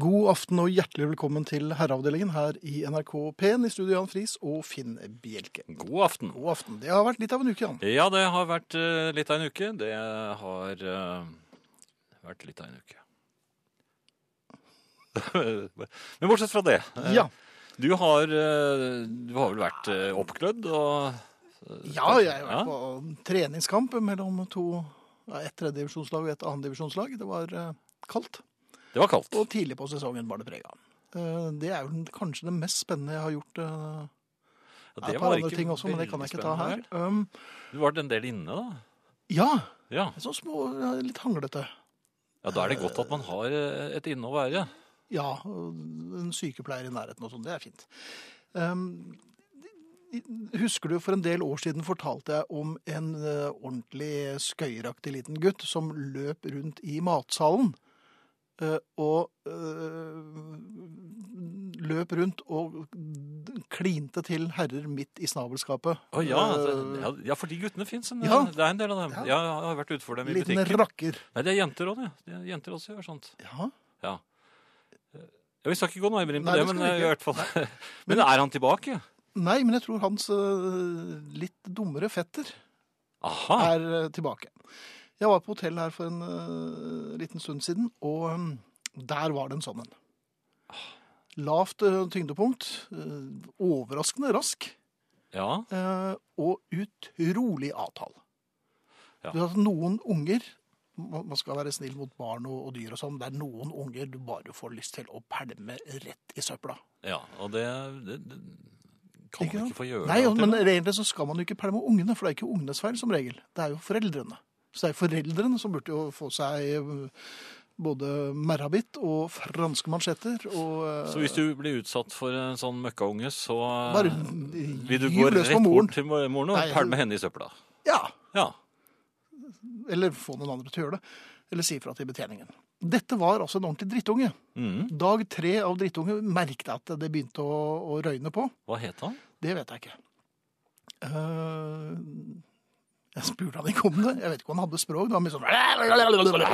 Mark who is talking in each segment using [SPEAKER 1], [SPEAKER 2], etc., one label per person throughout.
[SPEAKER 1] God aften og hjertelig velkommen til Herreavdelingen her i NRK P1 i studio Jan Friis og Finn Bjelke.
[SPEAKER 2] God aften.
[SPEAKER 1] God aften. Det har vært litt av en uke, Jan.
[SPEAKER 2] Ja, det har vært eh, litt av en uke. Det har eh, vært litt av en uke. Men bortsett fra det. eh,
[SPEAKER 1] Ja,
[SPEAKER 2] Du har, eh, du har vel vært eh, oppglødd og eh,
[SPEAKER 1] ja jeg har vært på treningskamp mellom to ja, Et tredjedivisjonslag og et annendivisjonslag. Det var eh, kaldt,
[SPEAKER 2] Det var kaldt.
[SPEAKER 1] og tidlig på sesongen var det preg av. Eh, Det er jo den- kanskje det mest spennende jeg har gjort. eh,
[SPEAKER 2] Ja,
[SPEAKER 1] Det er et par andre ting også, men det kan jeg ikke ta her.
[SPEAKER 2] veldig spennende,
[SPEAKER 1] Um,
[SPEAKER 2] vel? Du var en del inne, da.
[SPEAKER 1] ja,
[SPEAKER 2] Ja.
[SPEAKER 1] sånn små, ja, litt hanglete.
[SPEAKER 2] ja, Da er det godt at man har eh, et inne å være.
[SPEAKER 1] Ja, og en sykepleier i nærheten og sånn. Det er fint. Ehm, husker du for en del år siden fortalte jeg om en eh, ordentlig skøyeraktig liten gutt som løp rundt i matsalen eh, og eh, løp rundt og klinte til herrer midt i snabelskapet.
[SPEAKER 2] Å ja,
[SPEAKER 1] Eh,
[SPEAKER 2] altså, ja, for de guttene fins. Ja.
[SPEAKER 1] ja.
[SPEAKER 2] Det er en del av dem.
[SPEAKER 1] Ja.
[SPEAKER 2] Ja, jeg har vært utenfor dem i
[SPEAKER 1] Liten
[SPEAKER 2] butikken.
[SPEAKER 1] rakker.
[SPEAKER 2] Nei, det er jenter òg, det. det. er Jenter også gjør sånt.
[SPEAKER 1] Ja.
[SPEAKER 2] Ja. Eh, Ja, Vi skal ikke gå nærmere inn på
[SPEAKER 1] Nei,
[SPEAKER 2] det,
[SPEAKER 1] det skal
[SPEAKER 2] men
[SPEAKER 1] vi
[SPEAKER 2] eh, i
[SPEAKER 1] ikke.
[SPEAKER 2] hvert fall Men er han tilbake?
[SPEAKER 1] Nei, men jeg tror hans eh, litt dummere fetter
[SPEAKER 2] Aha.
[SPEAKER 1] er eh, tilbake. Jeg var på hotell her for en eh, liten stund siden, og eh, der var det en sånn en. Lavt eh, tyngdepunkt, eh, overraskende rask,
[SPEAKER 2] Ja.
[SPEAKER 1] eh, og utrolig avtall.
[SPEAKER 2] Ja.
[SPEAKER 1] Du vet at noen unger, man man skal være snill mot barn og, og dyr og sånn, det er noen unger du bare får lyst til å pælme rett i søpla.
[SPEAKER 2] ja. Og det, det, det kan
[SPEAKER 1] Ikke
[SPEAKER 2] man
[SPEAKER 1] sant?
[SPEAKER 2] ikke få gjøre.
[SPEAKER 1] Nei,
[SPEAKER 2] alltid,
[SPEAKER 1] men
[SPEAKER 2] da.
[SPEAKER 1] egentlig så skal man jo ikke pælme ungene, for det er ikke ungenes feil som regel. Det er jo foreldrene. Så det er jo foreldrene som burde jo få seg eh, både merrabitt og franske mansjetter og eh,
[SPEAKER 2] Så hvis du blir utsatt for en sånn møkkaunge, så eh,
[SPEAKER 1] Bare
[SPEAKER 2] vil du
[SPEAKER 1] gyv
[SPEAKER 2] gå
[SPEAKER 1] løs på
[SPEAKER 2] rett
[SPEAKER 1] moren.
[SPEAKER 2] bort til mor- moren
[SPEAKER 1] Nei,
[SPEAKER 2] og
[SPEAKER 1] jeg-
[SPEAKER 2] pælme henne i søpla?
[SPEAKER 1] Ja.
[SPEAKER 2] Ja.
[SPEAKER 1] Eller få noen andre til å gjøre det. Eller si fra til betjeningen. Dette var altså en ordentlig drittunge.
[SPEAKER 2] Mhm.
[SPEAKER 1] Dag tre av drittunge merket jeg at det begynte å, å røyne på.
[SPEAKER 2] Hva het han?
[SPEAKER 1] Det vet jeg ikke. Eh, jeg spurte han ikke om det. Jeg vet ikke om han hadde språk. Det var mye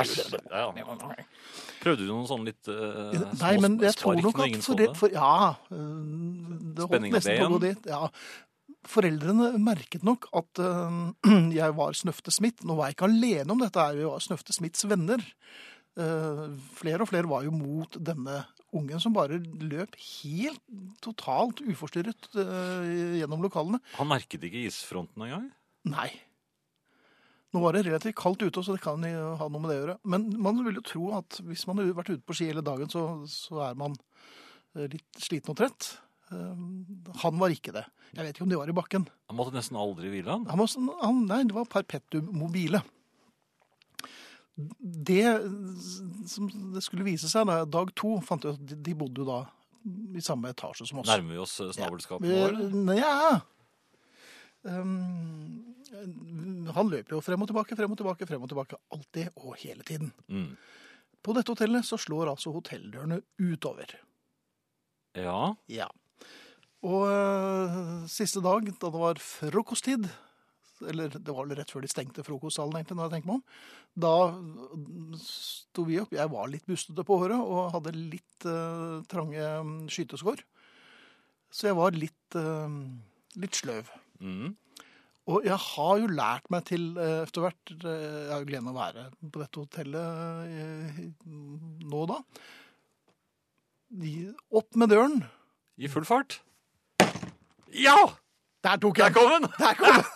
[SPEAKER 1] sånn
[SPEAKER 2] Ja. Prøvde du noen sånne litt eh,
[SPEAKER 1] Nei,
[SPEAKER 2] små
[SPEAKER 1] men jeg tror
[SPEAKER 2] spark
[SPEAKER 1] nok
[SPEAKER 2] når
[SPEAKER 1] at
[SPEAKER 2] ingen så
[SPEAKER 1] forel-
[SPEAKER 2] det?
[SPEAKER 1] for, Ja. øh, Det holdt
[SPEAKER 2] Spenningen
[SPEAKER 1] nesten
[SPEAKER 2] ble
[SPEAKER 1] på å gå
[SPEAKER 2] igjen.
[SPEAKER 1] dit. Ja. Foreldrene merket nok at øh, jeg var Snøfte Smith. Nå var jeg ikke alene om dette, her, vi var Snøfte Smiths venner. Eh, flere og flere var jo mot denne ungen som bare løp helt totalt uforstyrret eh, gjennom lokalene.
[SPEAKER 2] Han merket ikke isfronten engang?
[SPEAKER 1] Nei. Nå var det relativt kaldt ute, så det kan jo ha noe med det å gjøre. Men man vil jo tro at hvis man har vært ute på ski hele dagen, så, så er man eh, litt sliten og trett. Eh, Han var ikke det. Jeg vet ikke om de var i bakken.
[SPEAKER 2] Han måtte nesten aldri hvile, han.
[SPEAKER 1] Han var sånn, han, nei, det var perpetuum mobile. Det som det skulle vise seg da, dag to, fant jeg ut at de- de bodde jo da i samme etasje som oss.
[SPEAKER 2] Nærmer vi oss eh, snabelskapet nå? eller?
[SPEAKER 1] Eh, Nja um, Han løper jo frem og tilbake, frem og tilbake, frem og tilbake. Alltid og hele tiden.
[SPEAKER 2] Mm.
[SPEAKER 1] På dette hotellet så slår altså hotelldørene utover.
[SPEAKER 2] Ja.
[SPEAKER 1] Ja. Og eh, siste dag, da det var frokosttid eller det var vel rett før de stengte frokostsalen, egentlig, når jeg tenker meg om. Da mm, sto vi opp. Jeg var litt bustete på håret og hadde litt eh, trange mm, skyteskår. Så jeg var litt, eh, litt sløv.
[SPEAKER 2] Mm.
[SPEAKER 1] Og jeg har jo lært meg til eh, etter hvert eh, Jeg har jo gleden av å være på dette hotellet eh, nå da. De- Opp med døren.
[SPEAKER 2] I full fart? Ja!
[SPEAKER 1] Der tok
[SPEAKER 2] Der
[SPEAKER 1] jeg den!
[SPEAKER 2] kom den!
[SPEAKER 1] Der kom den!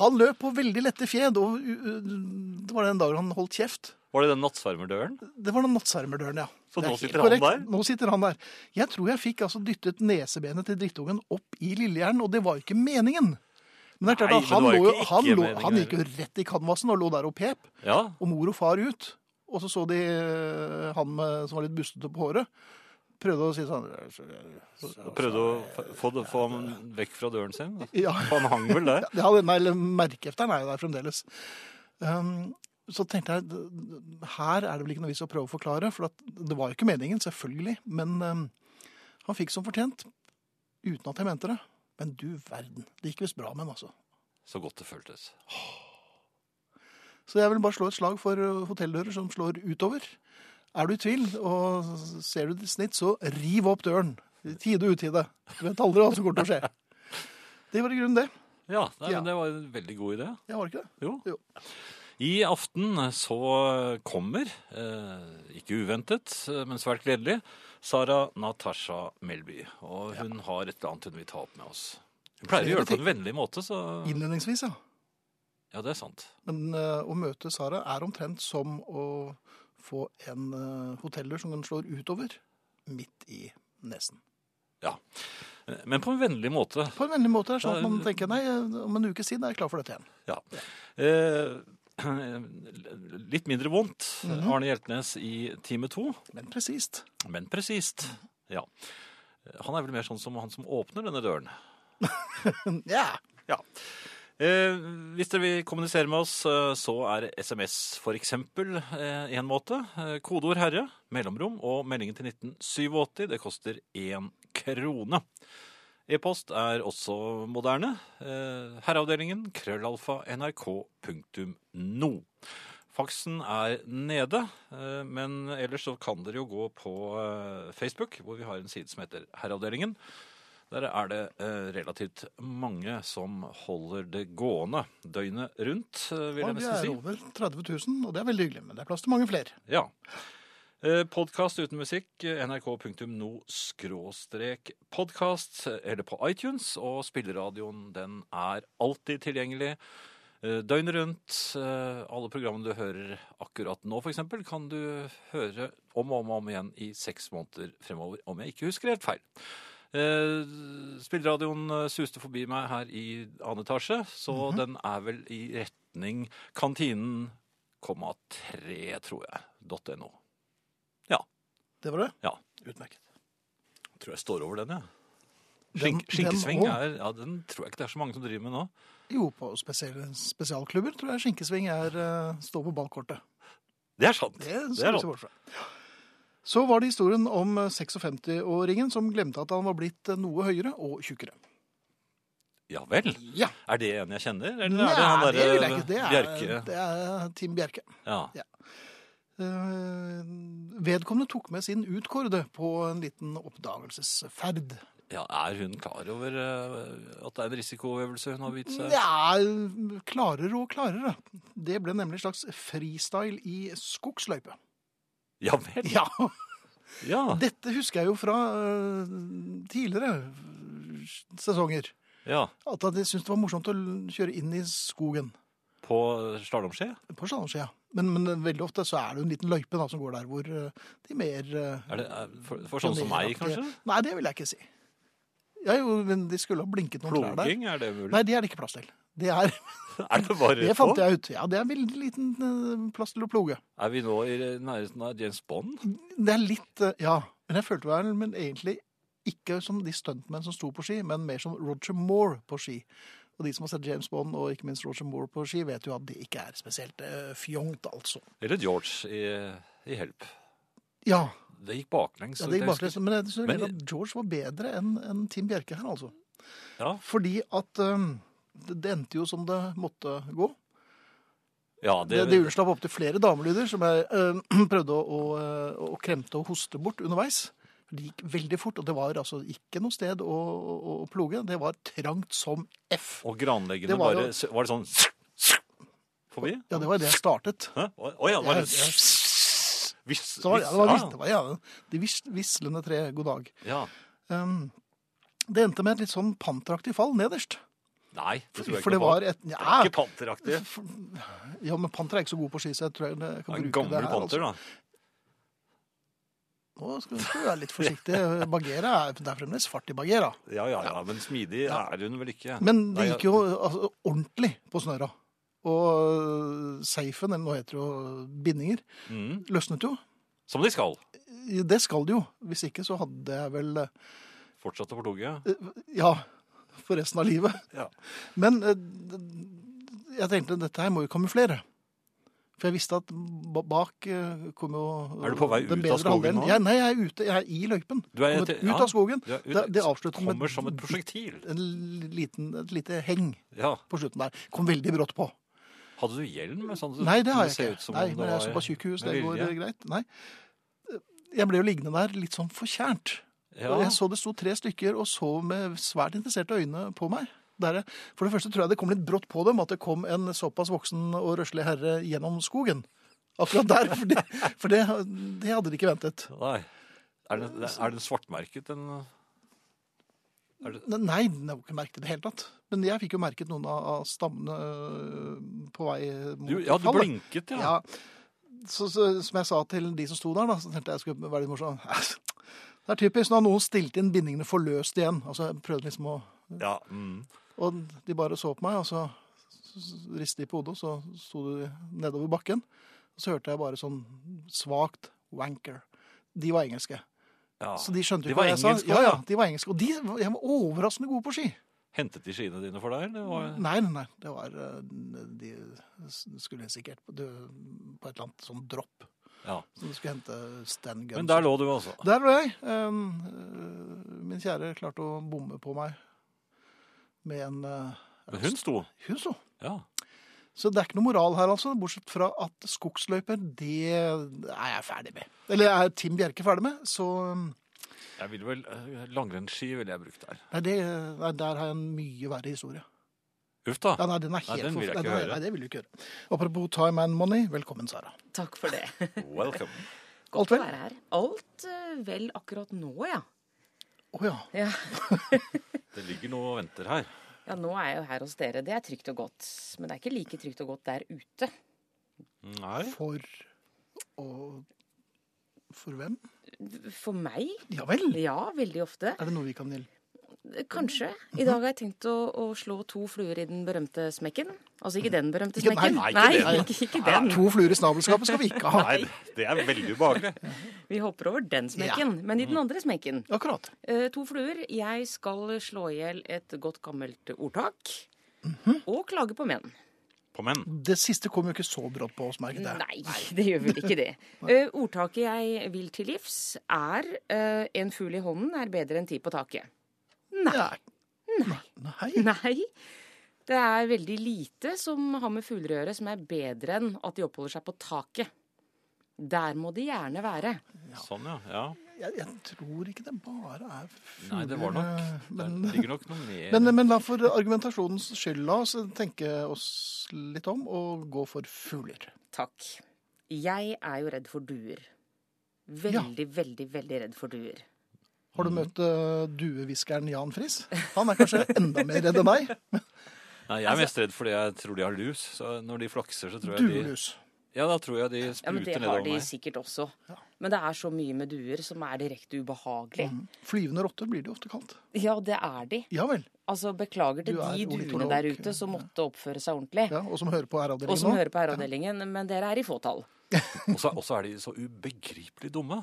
[SPEAKER 1] Han løp på veldig lette fjed, og u- u- det var den dagen han holdt kjeft.
[SPEAKER 2] Var det den nattsvermerdøren?
[SPEAKER 1] Det var den nattsvermerdøren, ja.
[SPEAKER 2] Så
[SPEAKER 1] Det er
[SPEAKER 2] nå
[SPEAKER 1] helt
[SPEAKER 2] sitter han der?
[SPEAKER 1] Nå sitter han der. Jeg tror jeg fikk altså dyttet nesebenet til drittungen opp i lillehjernen, og det var jo ikke meningen. Men det er klart
[SPEAKER 2] Nei,
[SPEAKER 1] at
[SPEAKER 2] men
[SPEAKER 1] han,
[SPEAKER 2] det var
[SPEAKER 1] lå,
[SPEAKER 2] jo ikke
[SPEAKER 1] han,
[SPEAKER 2] ikke
[SPEAKER 1] lå,
[SPEAKER 2] meningen
[SPEAKER 1] han gikk jo rett i kanvasen og lå der og pep.
[SPEAKER 2] Ja.
[SPEAKER 1] og mor og far ut. Og så så de eh, han med, som var litt bustete på håret, prøvde å si sånn
[SPEAKER 2] Og prøvde å f- få, det, få ham vekk fra døren sin.
[SPEAKER 1] Ja,
[SPEAKER 2] For Han hang vel der.
[SPEAKER 1] ja den der merkeefteren er jo der fremdeles. Um, så tenkte jeg, d- her er det vel ikke noe vis å prøve å forklare, for at det var jo ikke meningen, selvfølgelig. Men um, han fikk som fortjent, uten at jeg mente det. Men du verden, det gikk visst bra med han, altså.
[SPEAKER 2] Så godt det føltes.
[SPEAKER 1] Så jeg vil bare slå et slag for eh, hotelldører som slår utover. Er du i tvil og ser du ditt snitt, så riv opp døren. I tide og utide. Du vet aldri hva som kommer til å skje. Det var i grunnen det.
[SPEAKER 2] Ja, nei,
[SPEAKER 1] Ja.
[SPEAKER 2] men det var en veldig god idé.
[SPEAKER 1] Jeg var ikke det.
[SPEAKER 2] Jo.
[SPEAKER 1] Jo.
[SPEAKER 2] I aften så kommer, eh, ikke uventet, eh, men svært gledelig, Sara Natasha Melby. Og hun har et eller annet hun vil ta opp med oss. Hun pleier
[SPEAKER 1] Flere
[SPEAKER 2] å gjøre det på
[SPEAKER 1] ting.
[SPEAKER 2] en vennlig måte, så
[SPEAKER 1] Innledningsvis, ja.
[SPEAKER 2] Ja, det er sant.
[SPEAKER 1] Men eh, å møte Sara er omtrent som å få en eh, hoteller som den slår utover midt i nesen.
[SPEAKER 2] Men på en vennlig måte.
[SPEAKER 1] På en vennlig måte, sånn at man tenker nei, om en uke siden er jeg klar for dette igjen.
[SPEAKER 2] Ja. Eh, litt mindre vondt,
[SPEAKER 1] Mhm.
[SPEAKER 2] Arne Hjeltnes i time to,
[SPEAKER 1] Men presist.
[SPEAKER 2] men presist. Ja. Han er vel mer sånn som han som åpner denne døren.
[SPEAKER 1] Ja.
[SPEAKER 2] Eh, hvis dere vil kommunisere med oss, eh, så er SMS for eksempel eh, en måte. Eh, kodeord herre, mellomrom og meldingen til 1987. Det koster én krone. E-post er også moderne. Eh, herreavdelingen krøllalfa nrk.no. Faksen er nede, eh, men ellers så kan dere jo gå på eh, Facebook, hvor vi har en side som heter Herreavdelingen. Der er det eh, relativt mange som holder det gående døgnet rundt, eh,
[SPEAKER 1] Og
[SPEAKER 2] vil jeg
[SPEAKER 1] vi
[SPEAKER 2] nesten
[SPEAKER 1] er
[SPEAKER 2] si.
[SPEAKER 1] over 30 000, og det er veldig hyggelig. Men det er plass til mange flere.
[SPEAKER 2] Ja. Podkast uten musikk, eh, nrk.no-podkast, eller på iTunes. Og spilleradioen, den er alltid tilgjengelig eh, døgnet rundt. Eh, Alle programmene du hører akkurat nå, f.eks., kan du høre om og om og om igjen i seks måneder fremover, om jeg ikke husker helt feil. Eh, Spilleradioen eh, suste forbi meg her i annen etasje, så den er vel i retning kantinen 1,3, tror jeg. .no.
[SPEAKER 1] Det var det?
[SPEAKER 2] Ja.
[SPEAKER 1] Utmerket.
[SPEAKER 2] Tror jeg står over den, jeg.
[SPEAKER 1] Den-
[SPEAKER 2] Skink, skinkesving
[SPEAKER 1] den også.
[SPEAKER 2] er Ja, den tror jeg ikke det er så mange som driver med nå.
[SPEAKER 1] Jo, på spesielle, spesialklubber tror jeg skinkesving er eh, stå på ballkortet.
[SPEAKER 2] Det er sant.
[SPEAKER 1] Det
[SPEAKER 2] Det
[SPEAKER 1] skal
[SPEAKER 2] er
[SPEAKER 1] vi se bort fra. Så var det historien om eh, 56-åringen som glemte at han var blitt eh, noe høyere og tjukkere.
[SPEAKER 2] Ja vel.
[SPEAKER 1] Ja.
[SPEAKER 2] Er det en jeg kjenner, eller
[SPEAKER 1] Nei,
[SPEAKER 2] er det han
[SPEAKER 1] det vil jeg
[SPEAKER 2] derre
[SPEAKER 1] ikke. Det er,
[SPEAKER 2] Bjerke?
[SPEAKER 1] det er Tim Bjerke.
[SPEAKER 2] Ja.
[SPEAKER 1] Eh, vedkommende tok med sin utkårede på en liten oppdagelsesferd.
[SPEAKER 2] ja. Er hun klar over eh, at det er en risikoøvelse hun har begitt seg
[SPEAKER 1] Ja, klarere og klarere. Det ble nemlig en slags freestyle i skogsløype.
[SPEAKER 2] Ja vel.
[SPEAKER 1] Ja,
[SPEAKER 2] Ja.
[SPEAKER 1] dette husker jeg jo fra eh, tidligere sesonger.
[SPEAKER 2] ja.
[SPEAKER 1] At jeg syntes det var morsomt å l- kjøre inn i skogen
[SPEAKER 2] På slalåmski?
[SPEAKER 1] på Slanderskia. Men, men veldig ofte så er det jo en liten løype da, som går der hvor eh, de mer eh,
[SPEAKER 2] Er det er, for, for sånne sånn som meg, kanskje?
[SPEAKER 1] Nei, det vil jeg ikke si. Ja, jo, men de skulle ha blinket noen klær der.
[SPEAKER 2] Ploging, er det mulig?
[SPEAKER 1] Nei, det er det ikke plass til. Det, er,
[SPEAKER 2] Er det bare
[SPEAKER 1] det
[SPEAKER 2] på?
[SPEAKER 1] fant jeg ut. Ja, det er en veldig liten eh, plass til å ploge.
[SPEAKER 2] Er vi nå i nærheten av James Bond?
[SPEAKER 1] Det er litt eh, Ja. Men jeg følte vel men egentlig ikke som de stuntmenn som sto på ski, men mer som Roger Moore på ski. Og de som har sett James Bond og ikke minst Roger Moore på ski, vet jo at det ikke er spesielt eh, fjongt, altså.
[SPEAKER 2] Eller George i, i Help?
[SPEAKER 1] Ja,
[SPEAKER 2] Det gikk baklengs.
[SPEAKER 1] ja
[SPEAKER 2] så
[SPEAKER 1] det
[SPEAKER 2] jeg
[SPEAKER 1] gikk baklengs. Men jeg synes
[SPEAKER 2] Men-
[SPEAKER 1] vel at George var bedre enn enn Tim Bjerke her, altså.
[SPEAKER 2] husker- Ja,
[SPEAKER 1] Fordi at eh, det det endte jo som det måtte gå.
[SPEAKER 2] ja
[SPEAKER 1] Det,
[SPEAKER 2] det,
[SPEAKER 1] det unnslapp opptil flere damelyder som jeg eh, prøvde å, å, eh, å kremte og hoste bort underveis. Det gikk veldig fort, og det var altså ikke noe sted å, å, å ploge. Det var trangt som F.
[SPEAKER 2] Og granleggene
[SPEAKER 1] Det var jo-
[SPEAKER 2] var, bare s- Var det sånn forbi?
[SPEAKER 1] Ja, det var det jeg startet.
[SPEAKER 2] Hæ? Å å ja, var det
[SPEAKER 1] Jeg- jeg-
[SPEAKER 2] Vis,
[SPEAKER 1] Så, ja, det var, vis-
[SPEAKER 2] ja.
[SPEAKER 1] det var ja, De vis, vislende tre, god dag.
[SPEAKER 2] ja.
[SPEAKER 1] Um, det endte med et litt sånn panteraktig fall nederst.
[SPEAKER 2] Nei, det tror jeg
[SPEAKER 1] For
[SPEAKER 2] ikke
[SPEAKER 1] det
[SPEAKER 2] noe på.
[SPEAKER 1] var Ah! et
[SPEAKER 2] Det
[SPEAKER 1] ja,
[SPEAKER 2] er Ikke panteraktig.
[SPEAKER 1] ja, men panter er ikke så god på ski, så jeg tror jeg jeg kan
[SPEAKER 2] En
[SPEAKER 1] bruke det
[SPEAKER 2] gammel
[SPEAKER 1] her. Altså.
[SPEAKER 2] panter, da.
[SPEAKER 1] Nå skal vi skal vi være litt forsiktige. Bagheera er Det er fremdeles fart i Bagheera.
[SPEAKER 2] Ja, ja, ja, men smidig er hun vel ikke.
[SPEAKER 1] Men
[SPEAKER 2] Nei,
[SPEAKER 1] det gikk jo altså, ordentlig på snøra. Og øh, safen, eller nå heter det jo bindinger,
[SPEAKER 2] Mm,
[SPEAKER 1] løsnet jo.
[SPEAKER 2] som de skal.
[SPEAKER 1] Det skal det jo. Hvis ikke så hadde jeg vel eh,
[SPEAKER 2] Fortsatte på toget.
[SPEAKER 1] Ja, for resten av livet.
[SPEAKER 2] Ja.
[SPEAKER 1] Men eh, jeg tenkte dette her må jo kamuflere. For jeg visste at ba- bak eh, kom jo
[SPEAKER 2] Er du på vei
[SPEAKER 1] den
[SPEAKER 2] ut av
[SPEAKER 1] bedre
[SPEAKER 2] skogen
[SPEAKER 1] halvdelen.
[SPEAKER 2] nå?
[SPEAKER 1] Jeg, nei, jeg er ute. Jeg er i løypen.
[SPEAKER 2] Du er
[SPEAKER 1] Kommet
[SPEAKER 2] til-
[SPEAKER 1] ut
[SPEAKER 2] ja.
[SPEAKER 1] av skogen.
[SPEAKER 2] Du er ute-
[SPEAKER 1] Det, det avslutter med
[SPEAKER 2] Kommer som et prosjektil.
[SPEAKER 1] en liten, et lite heng
[SPEAKER 2] Ja.
[SPEAKER 1] på slutten der. Kom veldig brått på.
[SPEAKER 2] Hadde du hjelm? Sånn, at
[SPEAKER 1] Nei, det har
[SPEAKER 2] kunne
[SPEAKER 1] jeg
[SPEAKER 2] se
[SPEAKER 1] ikke.
[SPEAKER 2] ut som
[SPEAKER 1] Nei,
[SPEAKER 2] om det
[SPEAKER 1] men jeg er
[SPEAKER 2] var
[SPEAKER 1] såpass tjukk i huet, så det
[SPEAKER 2] med
[SPEAKER 1] går
[SPEAKER 2] vilje?
[SPEAKER 1] eh, greit. Nei. Jeg ble jo liggende der litt sånn forkjært.
[SPEAKER 2] Ja.
[SPEAKER 1] Og jeg så det sto tre stykker og så med svært interesserte øyne på meg. Der jeg, for det første tror jeg det kom litt brått på dem at det kom en såpass voksen og røslig herre gjennom skogen. Akkurat der, for det, for det, det hadde de ikke ventet.
[SPEAKER 2] Nei. Er den, er den svartmerket, den
[SPEAKER 1] Nei, den var ikke merket i det hele tatt. Men jeg fikk jo merket noen av av stammene øh, på vei mot
[SPEAKER 2] du, Ja, du
[SPEAKER 1] fallet.
[SPEAKER 2] blinket, ja.
[SPEAKER 1] Ja. Så, så, som jeg sa til de som sto der, da, så tenkte jeg jeg skulle være litt morsom. Det er typisk når noen stilte inn bindingene for løst igjen. Altså, jeg prøvde liksom å
[SPEAKER 2] ja. Mm.
[SPEAKER 1] Og de bare så på meg, og så ristet de på hodet, og så sto de nedover bakken. Og så hørte jeg bare sånn svakt 'wanker'. De var engelske.
[SPEAKER 2] ja.
[SPEAKER 1] Så de skjønte
[SPEAKER 2] De
[SPEAKER 1] jo ikke
[SPEAKER 2] var
[SPEAKER 1] hva jeg sa.
[SPEAKER 2] engelske,
[SPEAKER 1] Ja, ja,
[SPEAKER 2] ja.
[SPEAKER 1] de var engelske. Og de var, jeg var overraskende gode på ski.
[SPEAKER 2] Hentet de skiene dine for deg? eller var-
[SPEAKER 1] Nei, nei, nei. Det var eh, De skulle sikkert på det- på et eller annet sånn dropp.
[SPEAKER 2] Ja.
[SPEAKER 1] Så de skulle hente Stan Guns.
[SPEAKER 2] Men der lå du, altså.
[SPEAKER 1] Der var jeg. Um, øh, Min kjære klarte å bomme på meg med en eh,
[SPEAKER 2] Men hun sto.
[SPEAKER 1] Hun så.
[SPEAKER 2] Ja.
[SPEAKER 1] Så det er ikke noe moral her, altså, bortsett fra at skogsløyper, det er jeg ferdig med. Eller er Tim Bjerke ferdig med, så nei,
[SPEAKER 2] Jeg ville vel, eh, Langrennsski ville jeg brukt der.
[SPEAKER 1] det, nei, der har jeg en mye verre historie.
[SPEAKER 2] Uff da.
[SPEAKER 1] Ja, nei, den er helt
[SPEAKER 2] Nei, den vil jeg
[SPEAKER 1] forfe-
[SPEAKER 2] ikke
[SPEAKER 1] nei,
[SPEAKER 2] høre.
[SPEAKER 1] Nei, det vil du ikke høre. Apropos time and money, velkommen, Sara.
[SPEAKER 3] Takk for det.
[SPEAKER 2] Welcome.
[SPEAKER 1] Alt
[SPEAKER 3] Å
[SPEAKER 1] vel?
[SPEAKER 3] være her. Alt eh, vel akkurat nå, ja.
[SPEAKER 1] Å ja.
[SPEAKER 3] ja.
[SPEAKER 2] Det ligger noe og venter her.
[SPEAKER 3] Ja, nå er jeg jo her hos dere. Det er trygt og godt. Men det er ikke like trygt og godt der ute.
[SPEAKER 2] Nei.
[SPEAKER 1] For å For hvem?
[SPEAKER 3] For meg?
[SPEAKER 1] Ja vel.
[SPEAKER 3] Ja, veldig ofte.
[SPEAKER 1] Er det noe vi kan hjelpe?
[SPEAKER 3] Kanskje. I dag har jeg tenkt å, å slå to fluer i den berømte smekken. Altså ikke den berømte
[SPEAKER 1] Ikke- nei,
[SPEAKER 3] smekken.
[SPEAKER 2] nei, ikke
[SPEAKER 3] nei,
[SPEAKER 2] den.
[SPEAKER 3] ikke, ikke
[SPEAKER 1] Ja,
[SPEAKER 3] den.
[SPEAKER 1] to fluer i snabelskapet skal vi ikke ha.
[SPEAKER 2] Nei, det er veldig ubehagelig.
[SPEAKER 3] Vi hopper over den smekken. Men i
[SPEAKER 2] Mm.
[SPEAKER 3] den andre smekken
[SPEAKER 1] Akkurat.
[SPEAKER 3] Eh, to fluer. Jeg skal slå i hjel et godt gammelt ordtak.
[SPEAKER 2] Mhm.
[SPEAKER 3] Og klage på menn.
[SPEAKER 2] På menn.
[SPEAKER 1] Det siste kom jo ikke så brått på oss, merket jeg.
[SPEAKER 3] Nei, det gjør vel ikke det. Eh, ordtaket jeg vil til livs er eh, en fugl i hånden er bedre enn ti på taket. Nei.
[SPEAKER 1] Nei. Nei.
[SPEAKER 3] Nei. Det er veldig lite som har med fugler å gjøre som er bedre enn at de oppholder seg på taket. Der må de gjerne være.
[SPEAKER 2] Sånn, ja. ja.
[SPEAKER 1] Jeg, jeg tror ikke det bare er fugler.
[SPEAKER 2] Nei, det var nok
[SPEAKER 1] Men,
[SPEAKER 2] Der ligger nok noe mer
[SPEAKER 1] men, men la for argumentasjonens skyld la oss tenke oss litt om og gå for fugler.
[SPEAKER 3] Takk. Jeg er jo redd for duer. Veldig, veldig, veldig redd for duer.
[SPEAKER 1] Har
[SPEAKER 2] Mhm.
[SPEAKER 1] du møtt eh, duehviskeren Jan Friis? Han er kanskje enda mer redd enn deg.
[SPEAKER 2] Nei, Jeg er mest redd fordi jeg tror de har lus. Så når de flakser, så tror jeg de
[SPEAKER 1] Duelus.
[SPEAKER 2] Ja, da tror jeg de
[SPEAKER 3] Ja, men
[SPEAKER 2] spruter
[SPEAKER 3] Det har
[SPEAKER 2] nedover
[SPEAKER 3] de
[SPEAKER 2] meg.
[SPEAKER 3] sikkert også. Men det er så mye med duer som er direkte ubehagelig.
[SPEAKER 1] Flyvende rotter blir de ofte kalt.
[SPEAKER 3] Ja, det er de.
[SPEAKER 1] Ja vel.
[SPEAKER 3] Altså, beklager til
[SPEAKER 1] Du er
[SPEAKER 3] de duene
[SPEAKER 1] ornitolog,
[SPEAKER 3] der ute som måtte oppføre seg ordentlig.
[SPEAKER 1] Ja, og som hører på
[SPEAKER 3] Og
[SPEAKER 1] R-avdelingen
[SPEAKER 3] som
[SPEAKER 1] nå.
[SPEAKER 3] hører på herreavdelingen, men dere er i fåtall.
[SPEAKER 2] Og så- Og så er de så ubegripelig dumme.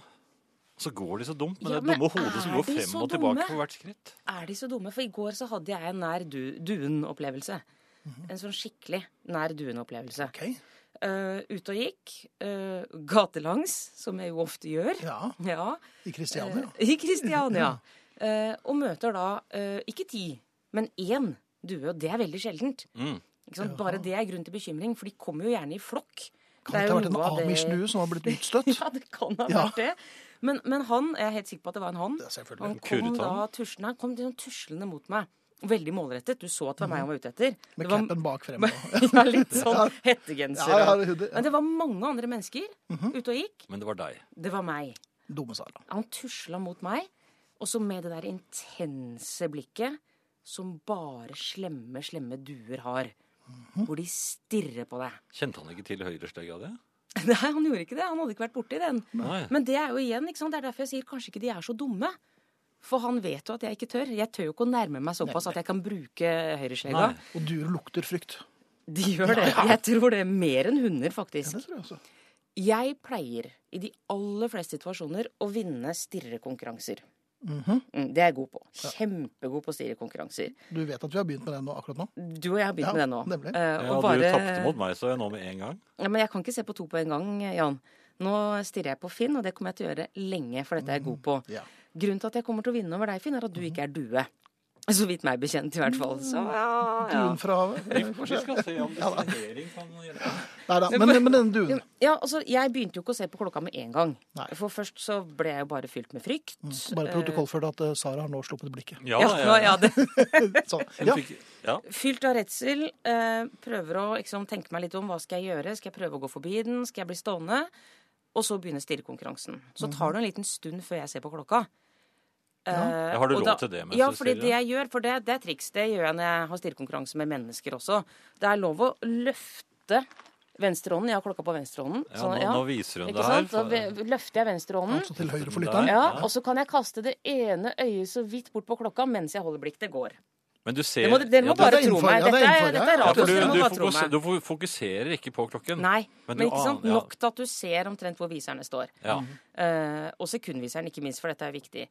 [SPEAKER 2] Så går de så dumt med
[SPEAKER 3] Ja,
[SPEAKER 2] det
[SPEAKER 3] men
[SPEAKER 2] dumme hodet som
[SPEAKER 3] er
[SPEAKER 2] går
[SPEAKER 3] de
[SPEAKER 2] frem
[SPEAKER 3] så
[SPEAKER 2] og tilbake
[SPEAKER 3] dumme?
[SPEAKER 2] for hvert skritt.
[SPEAKER 3] Er de så dumme? For i går så hadde jeg en nær du duen-opplevelse.
[SPEAKER 1] Mhm.
[SPEAKER 3] En sånn skikkelig nær duen-opplevelse.
[SPEAKER 1] Ok,
[SPEAKER 3] Eh, ute og gikk. eh, gatelangs, som jeg jo ofte gjør.
[SPEAKER 1] Ja,
[SPEAKER 3] Ja.
[SPEAKER 1] i Kristiania.
[SPEAKER 3] Eh, I Kristiania. Eh, og møter da eh, ikke ti, men én due, og det er veldig sjeldent.
[SPEAKER 2] Mm.
[SPEAKER 3] Ikke sant? Bare det er grunn til bekymring, for de kommer jo gjerne i flokk.
[SPEAKER 1] Kan det ha
[SPEAKER 3] er jo
[SPEAKER 1] vært en
[SPEAKER 3] noe av det-
[SPEAKER 1] Amish-due som har blitt utstøtt?
[SPEAKER 3] Ja, det kan ha
[SPEAKER 1] Ja.
[SPEAKER 3] vært det. Men, men han, jeg er helt sikker på at det var en han.
[SPEAKER 1] Det er selvfølgelig.
[SPEAKER 3] Han kom
[SPEAKER 2] Kurret han?
[SPEAKER 3] da tuslende, han kom litt sånn tuslende mot meg. Veldig målrettet. Du så at det var meg han var ute etter.
[SPEAKER 1] Mhm. Med
[SPEAKER 3] det var,
[SPEAKER 1] capen bak frem. og-
[SPEAKER 3] ja, litt sånn hettegenser.
[SPEAKER 1] Ja, ja,
[SPEAKER 3] og-
[SPEAKER 1] det- ja. Mhm.
[SPEAKER 3] Men det var mange andre mennesker ute og gikk.
[SPEAKER 2] Men det var deg.
[SPEAKER 3] Det var meg.
[SPEAKER 1] Dumme Sara.
[SPEAKER 3] Han tusla mot meg, og så med det der intense blikket som bare slemme, slemme duer har.
[SPEAKER 1] Mhm.
[SPEAKER 3] Hvor de stirrer på deg.
[SPEAKER 2] Kjente han ikke til høyreslegga di?
[SPEAKER 3] Nei, han gjorde ikke det. Han hadde ikke vært borti den.
[SPEAKER 2] Nei.
[SPEAKER 3] Men det er jo igjen, ikke sant? det er derfor jeg sier kanskje ikke de er så dumme. For han vet jo at jeg ikke tør. Jeg tør jo ikke å nærme meg såpass at jeg kan bruke høyreslegga.
[SPEAKER 2] Nei.
[SPEAKER 1] Og duer lukter frykt.
[SPEAKER 3] De gjør det. Jeg tror det er mer enn hunder, faktisk.
[SPEAKER 1] Det tror jeg også.
[SPEAKER 3] Jeg pleier i de aller fleste situasjoner å vinne stirrekonkurranser.
[SPEAKER 1] Mhm.
[SPEAKER 3] Mm, Det er jeg god på. Kjempegod på stirrekonkurranser.
[SPEAKER 1] Du vet at vi har begynt med den nå, akkurat nå?
[SPEAKER 3] Du og jeg har begynt
[SPEAKER 1] Ja,
[SPEAKER 3] med det nå.
[SPEAKER 1] nemlig.
[SPEAKER 3] Eh,
[SPEAKER 2] Ja,
[SPEAKER 3] og
[SPEAKER 2] Du
[SPEAKER 3] bare-
[SPEAKER 2] tapte mot meg, så jeg nå med en gang.
[SPEAKER 3] Ja, men jeg kan ikke se på to på en gang, Jan. Nå stirrer jeg på Finn, og det kommer jeg til å gjøre lenge, for dette er jeg god på.
[SPEAKER 1] Ja. Mhm.
[SPEAKER 3] Grunnen til at jeg kommer til å vinne over deg, Finn, er at du ikke er due. Så vidt meg bekjent, i hvert fall. Så
[SPEAKER 1] Mm.
[SPEAKER 3] ja, ja.
[SPEAKER 1] Duen fra havet.
[SPEAKER 2] Vi kanskje skal se om distrahering kan hjelpe.
[SPEAKER 1] Nei da, men, men denne duen.
[SPEAKER 3] Ja, altså, Jeg begynte jo ikke å se på klokka med en gang.
[SPEAKER 1] Nei. Mm.
[SPEAKER 3] For først så ble jeg jo bare fylt med frykt.
[SPEAKER 1] Bare protokollført at eh, Sara har nå sluppet blikket.
[SPEAKER 2] Ja,
[SPEAKER 3] Ja, ja, ja, det.
[SPEAKER 1] Sånn.
[SPEAKER 2] Hun
[SPEAKER 1] Ja.
[SPEAKER 2] fikk- ja.
[SPEAKER 3] Fylt av redsel. Eh, prøver å liksom, tenke meg litt om. Hva skal jeg gjøre? Skal jeg prøve å gå forbi den? Skal jeg bli stående? Og så begynner stirrekonkurransen. Så tar det en liten stund før jeg ser på klokka. Eh,
[SPEAKER 2] Ja, har du
[SPEAKER 3] og
[SPEAKER 2] lov til det mens
[SPEAKER 3] Ja,
[SPEAKER 2] du
[SPEAKER 3] fordi
[SPEAKER 2] stirrer?
[SPEAKER 3] det jeg gjør, for det, det er triks. Det gjør jeg når jeg har stirrekonkurranse med mennesker også. Det er lov å løfte venstrehånden. Jeg har klokka på venstrehånden. sånn,
[SPEAKER 2] Ja, nå, nå viser hun
[SPEAKER 3] Ikke
[SPEAKER 2] det her.
[SPEAKER 3] sant? Da ve- løfter jeg venstrehånden.
[SPEAKER 1] Så Altså til høyre for lytteren.
[SPEAKER 3] Ja, og så kan jeg kaste det ene øyet så vidt bort på klokka mens jeg holder blikk. Det går.
[SPEAKER 2] Men du ser
[SPEAKER 3] Dere må, dere
[SPEAKER 2] ja, du-
[SPEAKER 3] må
[SPEAKER 1] det
[SPEAKER 3] bare
[SPEAKER 1] er
[SPEAKER 3] tro
[SPEAKER 1] innenfor,
[SPEAKER 3] meg.
[SPEAKER 1] ja, det er
[SPEAKER 3] Dette er,
[SPEAKER 1] innenfor, ja.
[SPEAKER 3] dette er
[SPEAKER 2] ja,
[SPEAKER 3] radio,
[SPEAKER 2] for
[SPEAKER 3] så
[SPEAKER 2] du,
[SPEAKER 3] dere må
[SPEAKER 2] du,
[SPEAKER 3] bare tro
[SPEAKER 2] fokus,
[SPEAKER 3] meg.
[SPEAKER 2] du fokuserer ikke på klokken.
[SPEAKER 3] Nei,
[SPEAKER 2] Men
[SPEAKER 3] men,
[SPEAKER 2] du
[SPEAKER 3] ikke sant?
[SPEAKER 2] aner- ja.
[SPEAKER 3] nok til at du ser omtrent hvor viserne står.
[SPEAKER 2] Ja.
[SPEAKER 3] Eh, og sekundviseren, ikke minst, for dette er viktig.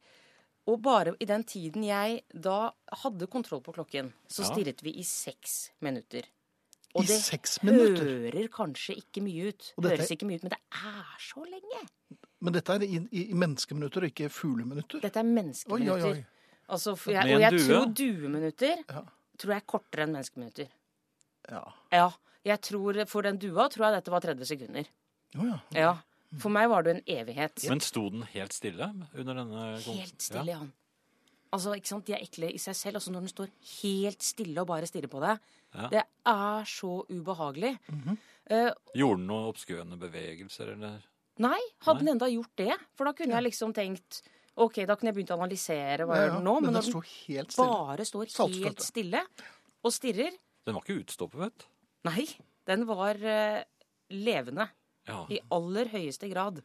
[SPEAKER 3] Og bare i den tiden jeg da hadde kontroll på klokken, så
[SPEAKER 2] Ja.
[SPEAKER 3] stirret vi i seks minutter.
[SPEAKER 1] I seks minutter.
[SPEAKER 3] hører kanskje ikke mye ut,
[SPEAKER 1] Og dette-
[SPEAKER 3] høres ikke mye ut, men det er så lenge.
[SPEAKER 1] Men dette er i, i, i menneskeminutter og ikke fugleminutter.
[SPEAKER 3] Dette er
[SPEAKER 1] Oi, oi,
[SPEAKER 3] menneskeminutter.
[SPEAKER 1] oi.
[SPEAKER 3] Altså, for jeg,
[SPEAKER 2] Med en
[SPEAKER 3] og jeg
[SPEAKER 2] due?
[SPEAKER 3] tror dueminutter
[SPEAKER 1] Ja.
[SPEAKER 3] tror jeg er kortere enn menneskeminutter.
[SPEAKER 1] Ja.
[SPEAKER 3] Ja, jeg tror, For den dua tror jeg dette var 30 sekunder.
[SPEAKER 1] Å ja.
[SPEAKER 3] Ja, For meg var det en evighet.
[SPEAKER 2] Men sto den helt stille under denne
[SPEAKER 3] Helt stille, Jan. Altså, ikke sant, De er ekle i seg selv. altså Når den står helt stille og bare stirrer på deg.
[SPEAKER 2] Ja.
[SPEAKER 3] Det er så ubehagelig. Eh,
[SPEAKER 2] Ja. Gjorde den noen oppskuende bevegelser, eller?
[SPEAKER 3] nei, hadde den enda gjort det? For da kunne jeg liksom tenkt OK, da kunne jeg begynt å analysere
[SPEAKER 1] Ja,
[SPEAKER 3] hva gjør
[SPEAKER 1] ja.
[SPEAKER 3] den nå? Men
[SPEAKER 1] Men
[SPEAKER 3] når
[SPEAKER 1] den
[SPEAKER 3] den
[SPEAKER 1] sto helt stille.
[SPEAKER 3] bare står
[SPEAKER 1] Saltstøtte.
[SPEAKER 3] helt stille og stirrer
[SPEAKER 2] Den var ikke utstoppet, vet du.
[SPEAKER 3] Nei, den var eh, levende.
[SPEAKER 2] Ja.
[SPEAKER 3] I aller høyeste grad.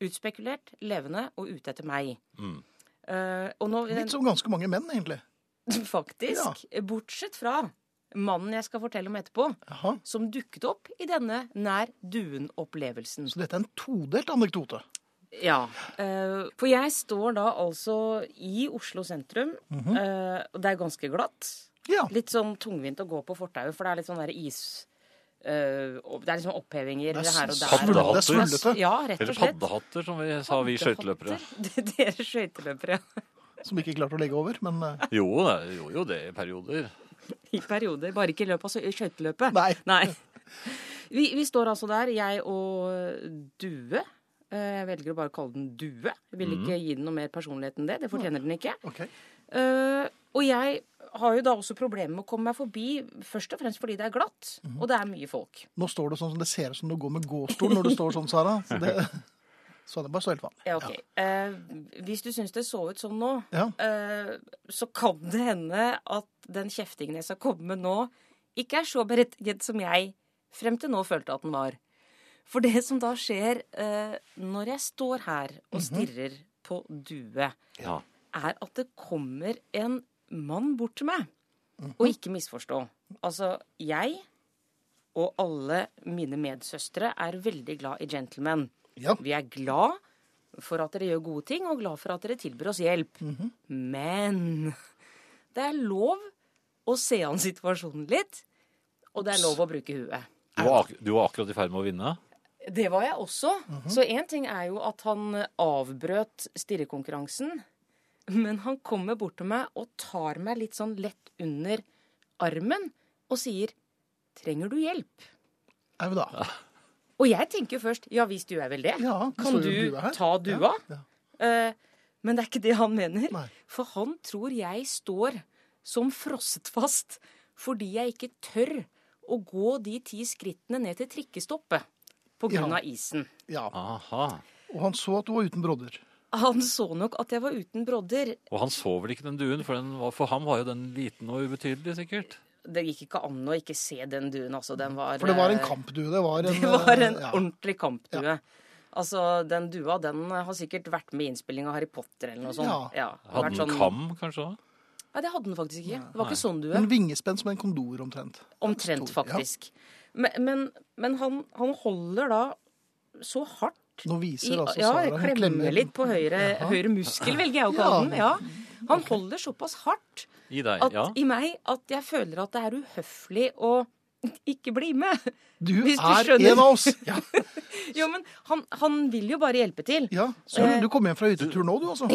[SPEAKER 3] Utspekulert, levende og ute etter meg.
[SPEAKER 2] Mm.
[SPEAKER 3] Eh, og nå,
[SPEAKER 1] Litt sånn- som ganske mange menn, egentlig.
[SPEAKER 3] faktisk, bortsett fra mannen jeg skal fortelle om etterpå,
[SPEAKER 1] Jaha.
[SPEAKER 3] som dukket opp i denne nær duen-opplevelsen.
[SPEAKER 1] Så dette er en todelt anekdote.
[SPEAKER 3] Ja. eh, for jeg står da altså i Oslo sentrum,
[SPEAKER 1] Mhm.
[SPEAKER 3] eh, og det er ganske glatt.
[SPEAKER 1] Ja.
[SPEAKER 3] Litt sånn tungvint å gå på fortauet, for det er litt sånn der is... eh, opp- det er liksom opphevinger
[SPEAKER 1] Det er
[SPEAKER 3] her og der.
[SPEAKER 1] smuldre-
[SPEAKER 2] Paddehatter.
[SPEAKER 1] det er smuldrete
[SPEAKER 3] Ja, rett og
[SPEAKER 2] Eller
[SPEAKER 3] slett.
[SPEAKER 2] paddehatter, som vi sa vi skøyteløpere.
[SPEAKER 3] Paddehatter. Dere skøyteløpere, ja.
[SPEAKER 1] som ikke klarte å legge over. Men eh,
[SPEAKER 2] Jo, det gjorde jo det i perioder.
[SPEAKER 3] I perioder. Bare ikke i løpet av skøy- skøyteløpet.
[SPEAKER 1] Nei.
[SPEAKER 3] Vi, vi står altså der, jeg og Due. Eh, Jeg velger å bare kalle den Due. Jeg vil ikke
[SPEAKER 2] Mhm.
[SPEAKER 3] gi den noe mer personlighet enn det. Det fortjener den ikke.
[SPEAKER 1] OK.
[SPEAKER 3] Eh, og jeg har jo da også problemer med å komme meg forbi, først og fremst fordi det er glatt,
[SPEAKER 2] Mhm.
[SPEAKER 3] og det er mye folk.
[SPEAKER 1] Nå står det sånn som det ser ut som du går med gåstol når du står sånn, Sara. Så det, så det er bare så helt vanlig.
[SPEAKER 3] Ja, ok. Eh, hvis du syns det så ut sånn nå,
[SPEAKER 1] Ja.
[SPEAKER 3] eh, så kan det hende at den kjeftingen jeg skal komme med nå, ikke er så berettiget som jeg frem til nå følte at den var. For det som da skjer eh, når jeg står her og stirrer på Due,
[SPEAKER 2] Ja.
[SPEAKER 3] er at det kommer en mann bort til meg. Og ikke misforstå. Altså, jeg og alle mine medsøstre er veldig glad i gentlemen.
[SPEAKER 1] Ja.
[SPEAKER 3] Vi er glad for at dere gjør gode ting, og glad for at dere tilbyr oss hjelp. Men det er lov å se an situasjonen litt, og det er lov å bruke huet.
[SPEAKER 2] Du var, ak du var akkurat i ferd med å vinne.
[SPEAKER 3] Det var jeg også. Så én ting er jo at han avbrøt stirrekonkurransen. Men han kommer bort til meg og tar meg litt sånn lett under armen og sier 'Trenger du hjelp?'
[SPEAKER 1] Er vi da?
[SPEAKER 3] Og jeg tenker jo først 'Ja visst gjør jeg vel det'.
[SPEAKER 1] Ja, det
[SPEAKER 3] kan
[SPEAKER 1] står jo en
[SPEAKER 3] du
[SPEAKER 1] due her.
[SPEAKER 3] ta dua?
[SPEAKER 1] Ja.
[SPEAKER 3] Eh, men det er ikke det han mener.
[SPEAKER 1] Nei.
[SPEAKER 3] For han tror jeg står som frosset fast fordi jeg ikke tør å gå de ti skrittene ned til trikkestoppet på grunn
[SPEAKER 1] Ja.
[SPEAKER 3] av isen.
[SPEAKER 1] Ja.
[SPEAKER 2] Aha.
[SPEAKER 1] Og han så at du var uten brodder.
[SPEAKER 3] Han så nok at jeg var uten brodder.
[SPEAKER 2] Og han så vel ikke den duen, for, den var, for ham var jo den liten og ubetydelig, sikkert.
[SPEAKER 3] Det gikk ikke an å ikke se den duen, altså. Den var
[SPEAKER 1] For det var en
[SPEAKER 3] eh,
[SPEAKER 1] kampdue. Det var en,
[SPEAKER 3] Det var
[SPEAKER 1] eh,
[SPEAKER 3] en
[SPEAKER 1] ja.
[SPEAKER 3] ordentlig kampdue. Altså, den dua, den har sikkert vært med i innspilling av Harry Potter eller noe sånt. Ja. det har
[SPEAKER 2] Hadde
[SPEAKER 3] vært
[SPEAKER 2] den
[SPEAKER 3] sånn-
[SPEAKER 2] kam, kanskje? også?
[SPEAKER 3] Nei, det hadde den faktisk ikke. Det var ikke sånn due.
[SPEAKER 1] En vingespenn som en kondor, omtrent.
[SPEAKER 3] Omtrent,
[SPEAKER 1] To, ja.
[SPEAKER 3] faktisk. Men, men, men han, han holder da så hardt
[SPEAKER 1] Nå viser altså
[SPEAKER 3] ja,
[SPEAKER 1] Sara
[SPEAKER 3] jeg
[SPEAKER 1] hun
[SPEAKER 3] klemmer litt på høyre, høyre muskel, velger jeg å kalle den. Ja. Han holder såpass hardt
[SPEAKER 2] I deg,
[SPEAKER 3] at,
[SPEAKER 2] ja.
[SPEAKER 3] i meg at jeg føler at det er uhøflig å ikke bli med.
[SPEAKER 1] Du
[SPEAKER 3] Hvis du
[SPEAKER 1] er
[SPEAKER 3] skjønner.
[SPEAKER 1] en av oss! Ja,
[SPEAKER 3] Jo, men han, han vil jo bare hjelpe til.
[SPEAKER 1] ja. Søren,
[SPEAKER 3] Eh,
[SPEAKER 1] du kom hjem fra hyttetur nå, du, altså.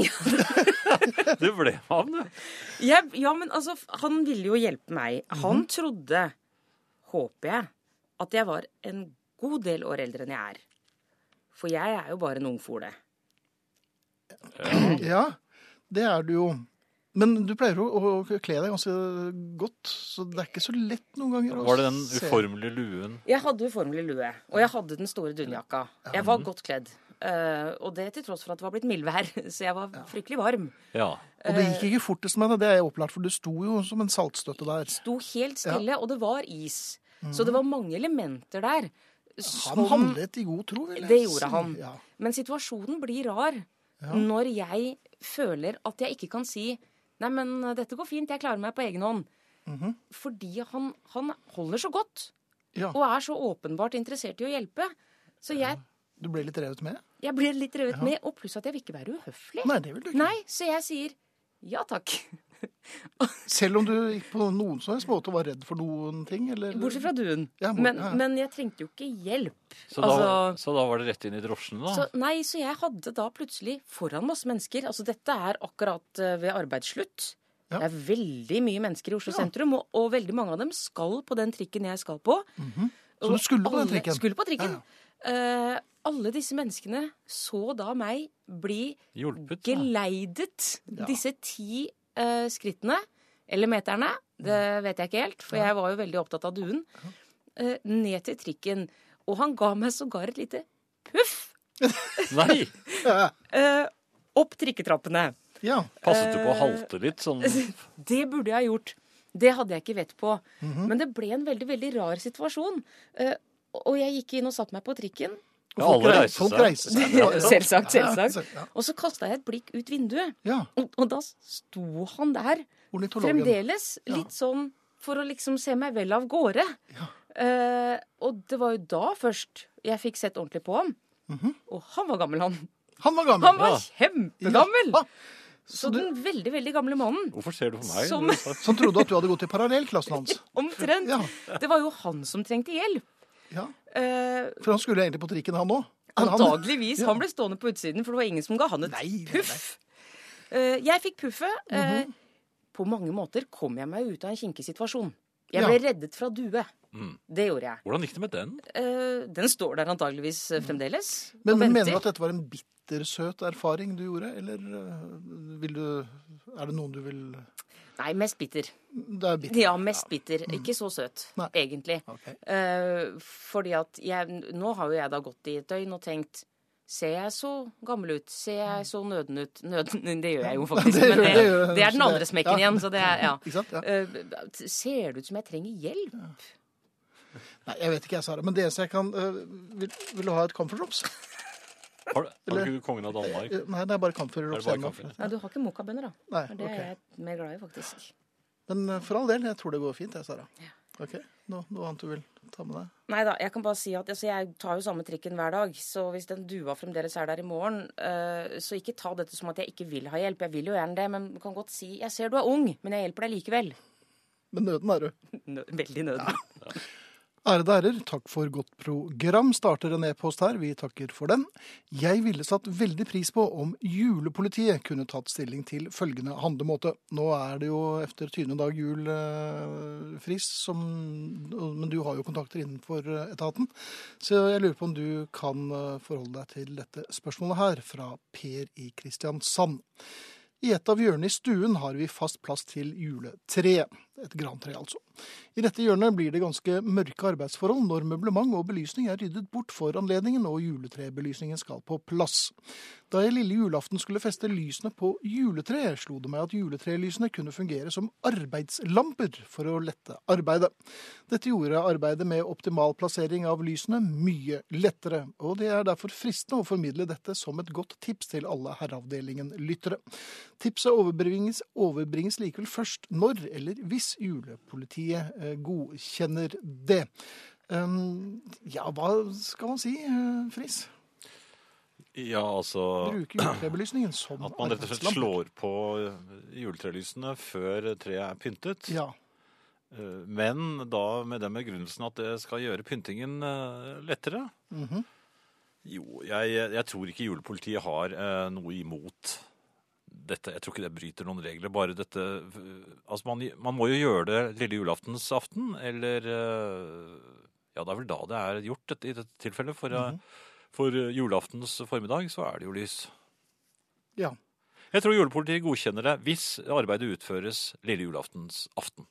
[SPEAKER 2] Du ble med han, du.
[SPEAKER 3] Jeg, ja, men altså, han ville jo hjelpe meg. Han
[SPEAKER 1] Mhm.
[SPEAKER 3] trodde, håper jeg, at jeg var en god del år eldre enn jeg er. For jeg er jo bare en ungfole.
[SPEAKER 1] Ja, det er du jo. Men du pleier å, å kle deg ganske godt, så det er ikke så lett noen ganger. å
[SPEAKER 2] Var det den
[SPEAKER 1] se.
[SPEAKER 2] uformelige luen?
[SPEAKER 3] Jeg hadde uformelig lue, og jeg hadde den store dunjakka. Jeg
[SPEAKER 1] Mhm.
[SPEAKER 3] var godt kledd. eh, og det til tross for at det var blitt mildvær, så jeg var fryktelig varm.
[SPEAKER 2] Ja.
[SPEAKER 1] Og det gikk ikke fortest med det, det er jeg opplært, for du sto jo som en saltstøtte der.
[SPEAKER 3] Sto helt stille, og det var is. Så det var mange elementer der.
[SPEAKER 1] Mhm. Han
[SPEAKER 3] som-
[SPEAKER 1] handlet i god tro, vil jeg
[SPEAKER 3] Sånn- Det gjorde
[SPEAKER 1] si.
[SPEAKER 3] han.
[SPEAKER 1] Ja.
[SPEAKER 3] Men situasjonen blir rar når jeg føler at jeg ikke kan si Nei, men eh, dette går fint, jeg klarer meg på egen hånd. Fordi han, han holder så godt
[SPEAKER 1] Mhm. Ja.
[SPEAKER 3] og er så åpenbart interessert i å hjelpe. Så jeg,
[SPEAKER 1] Du ble litt revet med?
[SPEAKER 3] jeg ble litt revet med, og pluss at jeg vil ikke være uhøflig.
[SPEAKER 1] Nei, det vil du ikke.
[SPEAKER 3] Nei, så jeg sier ja takk.
[SPEAKER 1] Selv om du ikke på noen som helst måte var redd for noen ting? Eller?
[SPEAKER 3] Bortsett fra duen.
[SPEAKER 1] Ja, bort-
[SPEAKER 3] men,
[SPEAKER 1] ja, ja.
[SPEAKER 3] men jeg trengte jo ikke hjelp.
[SPEAKER 2] Så da,
[SPEAKER 3] Altså-
[SPEAKER 2] så da var det rett inn i drosjene, da?
[SPEAKER 1] Ah.
[SPEAKER 3] Så, nei, så jeg hadde da plutselig foran masse mennesker Altså dette er akkurat eh, ved arbeidsslutt.
[SPEAKER 1] Ja.
[SPEAKER 3] Det er veldig mye mennesker i Oslo sentrum, og, og veldig mange av dem skal på den trikken jeg skal på.
[SPEAKER 1] Mhm. Så du skulle på den
[SPEAKER 3] alle,
[SPEAKER 1] trikken?
[SPEAKER 3] Skulle på trikken.
[SPEAKER 1] Ja,
[SPEAKER 3] Eh, alle disse menneskene så da meg bli
[SPEAKER 2] Hjulpet? da.
[SPEAKER 3] geleidet disse ti eh, skrittene, eller meterne, det
[SPEAKER 1] Mm.
[SPEAKER 3] vet jeg ikke helt, for jeg var jo veldig opptatt av duen, eh, ned til trikken. Og han ga meg sågar et lite puff
[SPEAKER 2] Nei!
[SPEAKER 1] Ja.
[SPEAKER 3] eh, opp trikketrappene.
[SPEAKER 1] ja.
[SPEAKER 2] Passet du på å halte litt sånn?
[SPEAKER 3] Det burde jeg ha gjort. Det hadde jeg ikke vett på.
[SPEAKER 1] Mhm.
[SPEAKER 3] Men det ble en veldig, veldig rar situasjon. Eh, og jeg gikk inn og satte meg på trikken.
[SPEAKER 2] Ja, alle
[SPEAKER 1] rei-
[SPEAKER 2] reiste
[SPEAKER 1] folk
[SPEAKER 2] seg.
[SPEAKER 1] reiste seg.
[SPEAKER 3] Selvsagt,
[SPEAKER 1] Ja, ja,
[SPEAKER 3] selvsagt.
[SPEAKER 1] ja.
[SPEAKER 3] Og så kasta jeg et blikk ut vinduet,
[SPEAKER 1] Ja.
[SPEAKER 3] og, og da sto han der.
[SPEAKER 1] Ornitologen.
[SPEAKER 3] Fremdeles litt sånn for å liksom se meg vel av gårde. Eh, og det var jo da først jeg fikk sett ordentlig på ham.
[SPEAKER 1] Mhm.
[SPEAKER 3] Og han var gammel, han.
[SPEAKER 1] Han var gammel.
[SPEAKER 3] Han var
[SPEAKER 2] Ja.
[SPEAKER 3] kjempegammel!
[SPEAKER 1] Ja.
[SPEAKER 3] Så den veldig, veldig gamle mannen
[SPEAKER 2] Hvorfor ser du på meg?
[SPEAKER 3] Som-
[SPEAKER 1] Som trodde at du hadde gått i parallellklassen hans.
[SPEAKER 3] Omtrent.
[SPEAKER 1] Ja.
[SPEAKER 3] Det var jo han som trengte hjelp.
[SPEAKER 1] Ja.
[SPEAKER 3] Eh,
[SPEAKER 1] For han skulle egentlig på trikken, han òg.
[SPEAKER 3] antageligvis.
[SPEAKER 1] Ja.
[SPEAKER 3] Han ble stående på utsiden, for det var ingen som ga han et
[SPEAKER 1] Nei, Mhm. nei, nei.
[SPEAKER 3] puff. Eh, jeg fikk puffet. Eh, På mange måter kom jeg meg ut av en kinkig situasjon. Jeg ble reddet fra due. Det gjorde jeg.
[SPEAKER 2] Hvordan gikk det med den?
[SPEAKER 3] Eh, den står der antageligvis eh, fremdeles.
[SPEAKER 1] Men
[SPEAKER 3] og venter.
[SPEAKER 1] mener du at dette var en bittersøt erfaring du gjorde, eller øh, vil du Er det noen du vil
[SPEAKER 3] Nei, mest bitter.
[SPEAKER 1] Det er bitter.
[SPEAKER 3] Ja, mest bitter. Ikke så søt,
[SPEAKER 1] Nei.
[SPEAKER 3] egentlig.
[SPEAKER 1] Ok.
[SPEAKER 3] Eh, fordi at jeg, nå har jo jeg da gått i et døgn og tenkt Ser jeg så gammel ut? Ser jeg så nøden ut? Nøden, det gjør jeg jo faktisk,
[SPEAKER 1] Det gjør-
[SPEAKER 3] men det,
[SPEAKER 1] det gjør-
[SPEAKER 3] det er den
[SPEAKER 1] så
[SPEAKER 3] andre
[SPEAKER 1] det-
[SPEAKER 3] smekken
[SPEAKER 1] ja.
[SPEAKER 3] igjen. Så det er, ja.
[SPEAKER 1] Ikke sant? Ja.
[SPEAKER 3] Eh, ser det ut som jeg trenger hjelp?
[SPEAKER 1] Nei, jeg vet ikke, jeg, Sara. Men det eneste jeg kan øh, vil, vil du ha et comfort drops?
[SPEAKER 2] Har, du- har du ikke kongen av Danmark?
[SPEAKER 1] Eh, Nei, det er bare camphor drops.
[SPEAKER 2] bare
[SPEAKER 1] igjen nå.
[SPEAKER 2] camphor?
[SPEAKER 3] Nei, du har ikke mokabønner, da.
[SPEAKER 1] Nei,
[SPEAKER 3] For det
[SPEAKER 1] ok.
[SPEAKER 3] er jeg mer glad i, faktisk.
[SPEAKER 1] Men øh, for all del, jeg tror det går fint, jeg, Sara. Ok, Nå, Noe annet du vil ta med deg?
[SPEAKER 3] Nei da, jeg kan bare si at altså, jeg tar jo samme trikken hver dag. Så hvis den dua fremdeles er der i morgen, eh, så ikke ta dette som at jeg ikke vil ha hjelp. Jeg vil jo gjerne det, men du kan godt si 'jeg ser du er ung, men jeg hjelper deg likevel'.
[SPEAKER 1] Men nøden er du.
[SPEAKER 3] Nø veldig nøden.
[SPEAKER 1] Ærede herrer, takk for godt program. Starter en e-post her, vi takker for den. Jeg ville satt veldig pris på om julepolitiet kunne tatt stilling til følgende handlemåte. Nå er det jo efter tyvende dag jul eh, frist, som, men du har jo kontakter innenfor eh, etaten. Så jeg lurer på om du kan eh, forholde deg til dette spørsmålet her, fra Per i Kristiansand. I et av hjørnene i stuen har vi fast plass til juletreet. Et grantre, altså. I dette hjørnet blir det ganske mørke arbeidsforhold når møblement og belysning er ryddet bort for anledningen og juletrebelysningen skal på plass. Da jeg lille julaften skulle feste lysene på juletreet, slo det meg at juletrelysene kunne fungere som arbeidslamper for å lette arbeidet. Dette gjorde arbeidet med optimal plassering av lysene mye lettere, og det er derfor fristende å formidle dette som et godt tips til alle Herreavdelingen-lyttere. Tipset overbringes, overbringes likevel først når eller hvis julepolitiet eh, godkjenner det. Um, ja, hva skal man si, eh, Friis?
[SPEAKER 2] Ja, altså
[SPEAKER 1] Bruke juletrebelysningen som
[SPEAKER 2] At man rett og slett
[SPEAKER 1] arbeidslampe.
[SPEAKER 2] eh, slår på juletrelysene før treet er pyntet.
[SPEAKER 1] Ja.
[SPEAKER 2] Eh, Men da med den begrunnelsen at det skal gjøre pyntingen eh, lettere.
[SPEAKER 1] Mhm.
[SPEAKER 2] Jo, jeg, jeg tror ikke julepolitiet har eh, noe imot dette. Jeg tror ikke det bryter noen regler. Bare dette Altså, man, man må jo gjøre det lille julaftens aften, eller eh, Ja, det er vel da det er gjort, dette, i dette tilfellet. For, eh, for eh, julaftens formiddag så er det jo lys.
[SPEAKER 1] Ja.
[SPEAKER 2] Jeg tror julepolitiet godkjenner det hvis arbeidet utføres lille julaftens aften.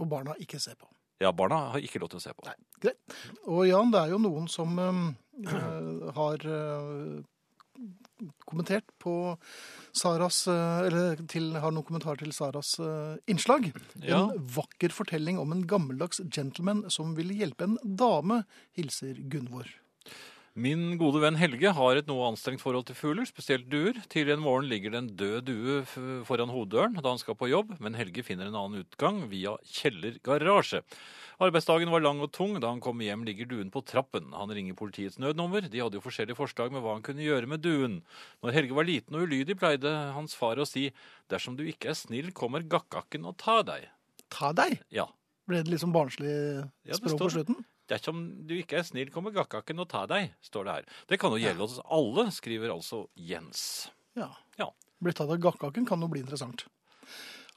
[SPEAKER 1] Og barna ikke ser på.
[SPEAKER 2] Ja, barna har ikke lov til å se på.
[SPEAKER 1] Nei. Greit. Og Jan, det er jo noen som eh, eh, har eh, kommentert på Saras eh, Eller til, har noen kommentar til Saras eh, innslag.
[SPEAKER 2] Ja.
[SPEAKER 1] En vakker fortelling om en gammeldags gentleman som ville hjelpe en dame, hilser Gunvor.
[SPEAKER 2] Min gode venn Helge har et noe anstrengt forhold til fugler, spesielt duer. Tidlig en morgen ligger det en død due f- foran hoveddøren da han skal på jobb, men Helge finner en annen utgang via kjellergarasje. Arbeidsdagen var lang og tung. Da han kommer hjem, ligger duen på trappen. Han ringer politiets nødnummer. De hadde jo forskjellige forslag med hva han kunne gjøre med duen. Når Helge var liten og ulydig, pleide hans far å si dersom du ikke er snill, kommer gakkakken og tar deg.
[SPEAKER 1] Ta deg!
[SPEAKER 2] Ja,
[SPEAKER 1] Ble det liksom barnslig
[SPEAKER 2] Ja, det
[SPEAKER 1] språk
[SPEAKER 2] står
[SPEAKER 1] på slutten?
[SPEAKER 2] Dersom du ikke er snill, kommer gakkakken og tar deg, står det her. Det kan jo gjelde oss alle, skriver altså Jens.
[SPEAKER 1] Ja.
[SPEAKER 2] Ja.
[SPEAKER 1] Bli tatt av gakkaken kan jo bli interessant.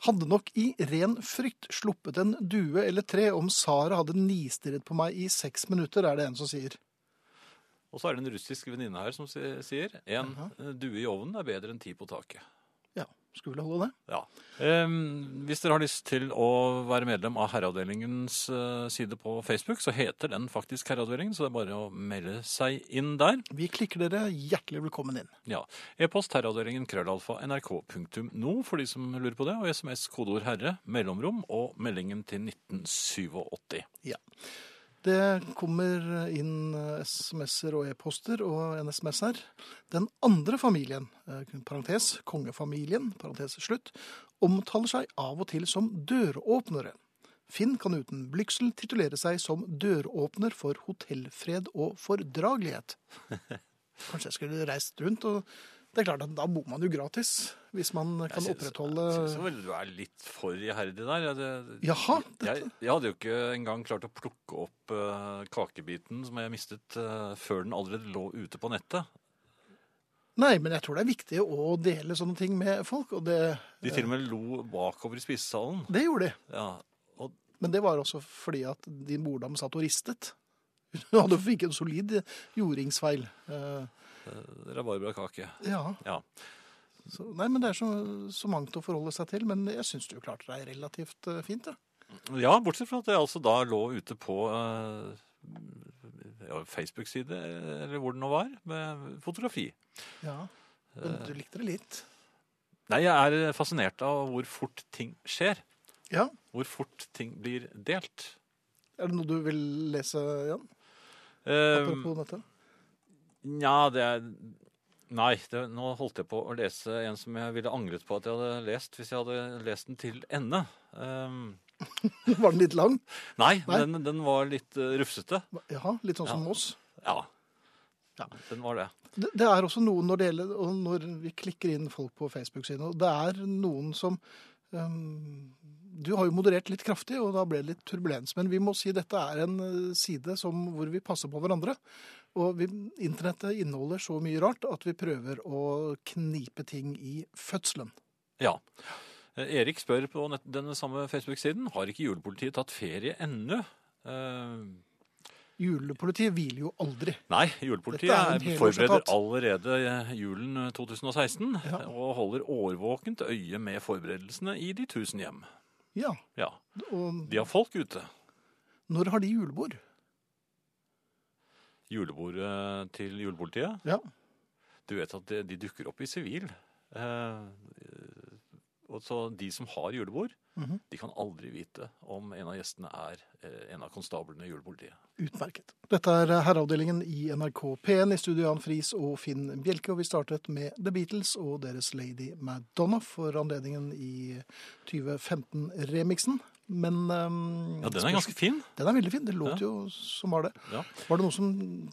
[SPEAKER 1] Hadde nok i ren frykt sluppet en due eller tre om Sara hadde nistirret på meg i seks minutter, er det en som sier.
[SPEAKER 2] Og så er det en russisk venninne her som si- sier en due i ovnen er bedre enn ti på taket.
[SPEAKER 1] Ja, skulle vel holde det.
[SPEAKER 2] Ja. Ehm, hvis dere har lyst til å være medlem av Herreavdelingens eh, side på Facebook, så heter den faktisk Herreavdelingen, så det er bare å melde seg inn der.
[SPEAKER 1] Vi klikker dere hjertelig velkommen inn.
[SPEAKER 2] Ja. E-post herreavdelingen krøllalfa nrk.no for de som lurer på det, og SMS kodeord herre, mellomrom og meldingen til 1987.
[SPEAKER 1] Det kommer inn eh, SMS-er og e-poster og en SMS her. Den andre familien, eh, parentes kongefamilien, parentes slutt, omtaler seg av og til som døråpnere. Finn kan uten blygsel titulere seg som døråpner for hotellfred og fordragelighet. Kanskje jeg skulle reist rundt, og det er klart at da bor man jo gratis, hvis man kan
[SPEAKER 2] Jeg synes- Jeg synes
[SPEAKER 1] opprettholde
[SPEAKER 2] vel du er litt for iherdig der. Jeg, det-
[SPEAKER 1] Jaha,
[SPEAKER 2] jeg, jeg hadde jo ikke engang klart å plukke opp eh, kakebiten som jeg mistet eh, før den allerede lå ute på nettet.
[SPEAKER 1] Nei, men jeg tror det er viktig å dele sånne ting med folk, og det,
[SPEAKER 2] De til og med lo bakover i spisesalen.
[SPEAKER 1] det gjorde de.
[SPEAKER 2] Ja,
[SPEAKER 1] Men det var også fordi at din bordam satt og ristet. Hun hadde fikk en solid jordingsfeil. Eh,
[SPEAKER 2] Rabarbrakake.
[SPEAKER 1] ja.
[SPEAKER 2] Ja.
[SPEAKER 1] Så, nei, men det er så, så mangt å forholde seg til. Men jeg syns du klarte deg relativt eh, fint. Ja.
[SPEAKER 2] ja, bortsett fra at det altså da lå ute på eh, ja, Facebook-side, eller hvor det nå var, med fotografi. Eh,
[SPEAKER 1] ja. Men du likte det litt.
[SPEAKER 2] Nei, jeg er eh, fascinert av hvor fort ting skjer.
[SPEAKER 1] Ja.
[SPEAKER 2] Hvor fort ting blir delt.
[SPEAKER 1] Er det noe du vil lese, Jan?
[SPEAKER 2] Eh,
[SPEAKER 1] Apropos dette.
[SPEAKER 2] Nja, det er Nei, det, nå holdt jeg på å lese en som jeg ville angret på at jeg hadde lest, hvis jeg hadde lest den til ende. Ehm,
[SPEAKER 1] Var den litt lang?
[SPEAKER 2] nei,
[SPEAKER 1] Nei.
[SPEAKER 2] Den, den var litt eh, rufsete.
[SPEAKER 1] Jaha, litt sånn som
[SPEAKER 2] Ja.
[SPEAKER 1] Moss.
[SPEAKER 2] Ja.
[SPEAKER 1] Ja.
[SPEAKER 2] Den var det.
[SPEAKER 1] Det, det er også noen når det gjelder og Når vi klikker inn folk på Facebook-siden, og det er noen som øhm, Du har jo moderert litt kraftig, og da ble det litt turbulens. Men vi må si dette er en øh, side som, hvor vi passer på hverandre. Og vi, internettet inneholder så mye rart at vi prøver å knipe ting i fødselen.
[SPEAKER 2] Ja. Eh, Erik spør på nett, denne samme Facebook-siden har ikke julepolitiet tatt ferie ennå. Ehm,
[SPEAKER 1] Julepolitiet hviler jo aldri.
[SPEAKER 2] Nei,
[SPEAKER 1] Dette er en
[SPEAKER 2] julepolitiet er-
[SPEAKER 1] hel
[SPEAKER 2] forbereder
[SPEAKER 1] resultat.
[SPEAKER 2] allerede julen eh, 2016
[SPEAKER 1] Ja.
[SPEAKER 2] og holder årvåkent øye med forberedelsene i de tusen hjem.
[SPEAKER 1] Ja,
[SPEAKER 2] Ja,
[SPEAKER 1] Og
[SPEAKER 2] De har folk ute.
[SPEAKER 1] når har de julebord?
[SPEAKER 2] julebordet til julepolitiet.
[SPEAKER 1] Ja.
[SPEAKER 2] Du vet at de, de dukker opp i sivil. Eh, og så de som har julebord,
[SPEAKER 1] Mhm.
[SPEAKER 2] de kan aldri vite om en av gjestene er eh, en av konstablene i julepolitiet.
[SPEAKER 1] Utmerket. Dette er herreavdelingen i NRK P1 i studio Jan Friis og Finn Bjelke, og vi startet med The Beatles og deres Lady Madonna for anledningen i 2015-remiksen. Men ehm,
[SPEAKER 2] Ja, den er ganske fin.
[SPEAKER 1] Den er veldig fin. Det låt jo som var det.
[SPEAKER 2] Ja.
[SPEAKER 1] Var det noen som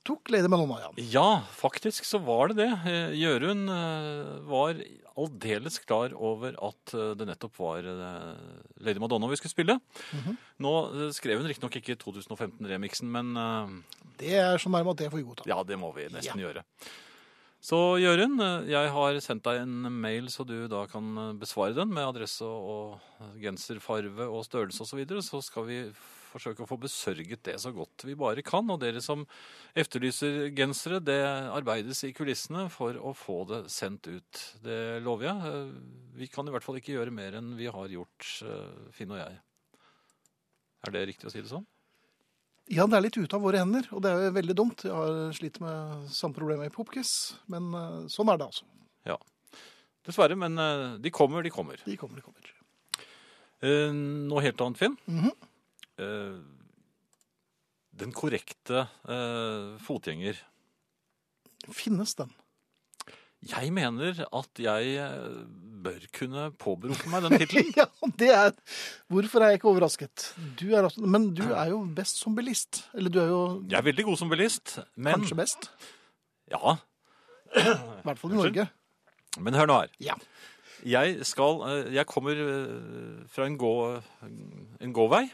[SPEAKER 1] tok Lady Madonna, ja?
[SPEAKER 2] Ja, faktisk så var det det. Eh, Jørund eh, var aldeles klar over at eh, det nettopp var eh, Lady Madonna vi skulle spille.
[SPEAKER 1] Mhm.
[SPEAKER 2] Nå eh, skrev hun riktignok ikke 2015-remiksen, men eh,
[SPEAKER 1] Det er så nærme at det får vi godta.
[SPEAKER 2] ja, det må vi nesten gjøre. Så Jørund, eh, jeg har sendt deg en mail så du da kan eh, besvare den med adresse og genserfarve og størrelse osv. Så, videre. så skal vi forsøke å få besørget det så godt vi bare kan. Og dere som efterlyser gensere, det arbeides i kulissene for å få det sendt ut. Det lover jeg. Eh, Vi kan i hvert fall ikke gjøre mer enn vi har gjort, eh, Finn og jeg. Er det riktig å si det sånn?
[SPEAKER 1] Ja, det er litt ute av våre hender, og det er jo veldig dumt. Jeg har slitt med samme problem i Popkiss, men eh, sånn er det altså.
[SPEAKER 2] Dessverre, men eh, de kommer, de kommer.
[SPEAKER 1] De kommer, de kommer.
[SPEAKER 2] Eh, Noe helt annet, Finn.
[SPEAKER 1] Mhm.
[SPEAKER 2] Eh, Den korrekte eh, fotgjenger.
[SPEAKER 1] Finnes den?
[SPEAKER 2] Jeg mener at jeg eh, bør kunne påberope meg den tittelen.
[SPEAKER 1] Ja, det er Hvorfor er jeg ikke overrasket? Du er, absolutt- men du er jo best som bilist. Eller du er jo
[SPEAKER 2] Jeg er veldig god som bilist, men,
[SPEAKER 1] kanskje best.
[SPEAKER 2] ja,
[SPEAKER 1] I hvert fall i
[SPEAKER 2] Unnskyld?
[SPEAKER 1] Norge.
[SPEAKER 2] men hør nå her.
[SPEAKER 1] Ja.
[SPEAKER 2] Jeg, skal, eh, jeg kommer eh, fra en, gå, en gåvei.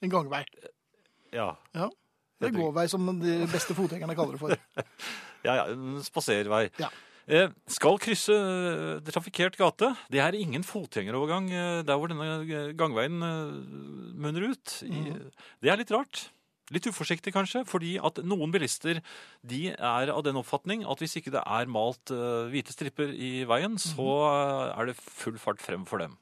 [SPEAKER 1] En gangvei.
[SPEAKER 2] Ja.
[SPEAKER 1] Det er
[SPEAKER 2] Heter-
[SPEAKER 1] gåvei, som de beste fotgjengerne kaller det for.
[SPEAKER 2] ja, en spaservei.
[SPEAKER 1] Ja.
[SPEAKER 2] Eh, Skal krysse eh, trafikkert gate. Det er ingen fotgjengerovergang eh, der hvor denne eh, gangveien eh, munner ut. I- Det er litt rart. Litt uforsiktig kanskje, fordi at noen bilister de er av den oppfatning at hvis ikke det er malt eh, hvite stripper i veien, så eh, er det full fart frem for dem.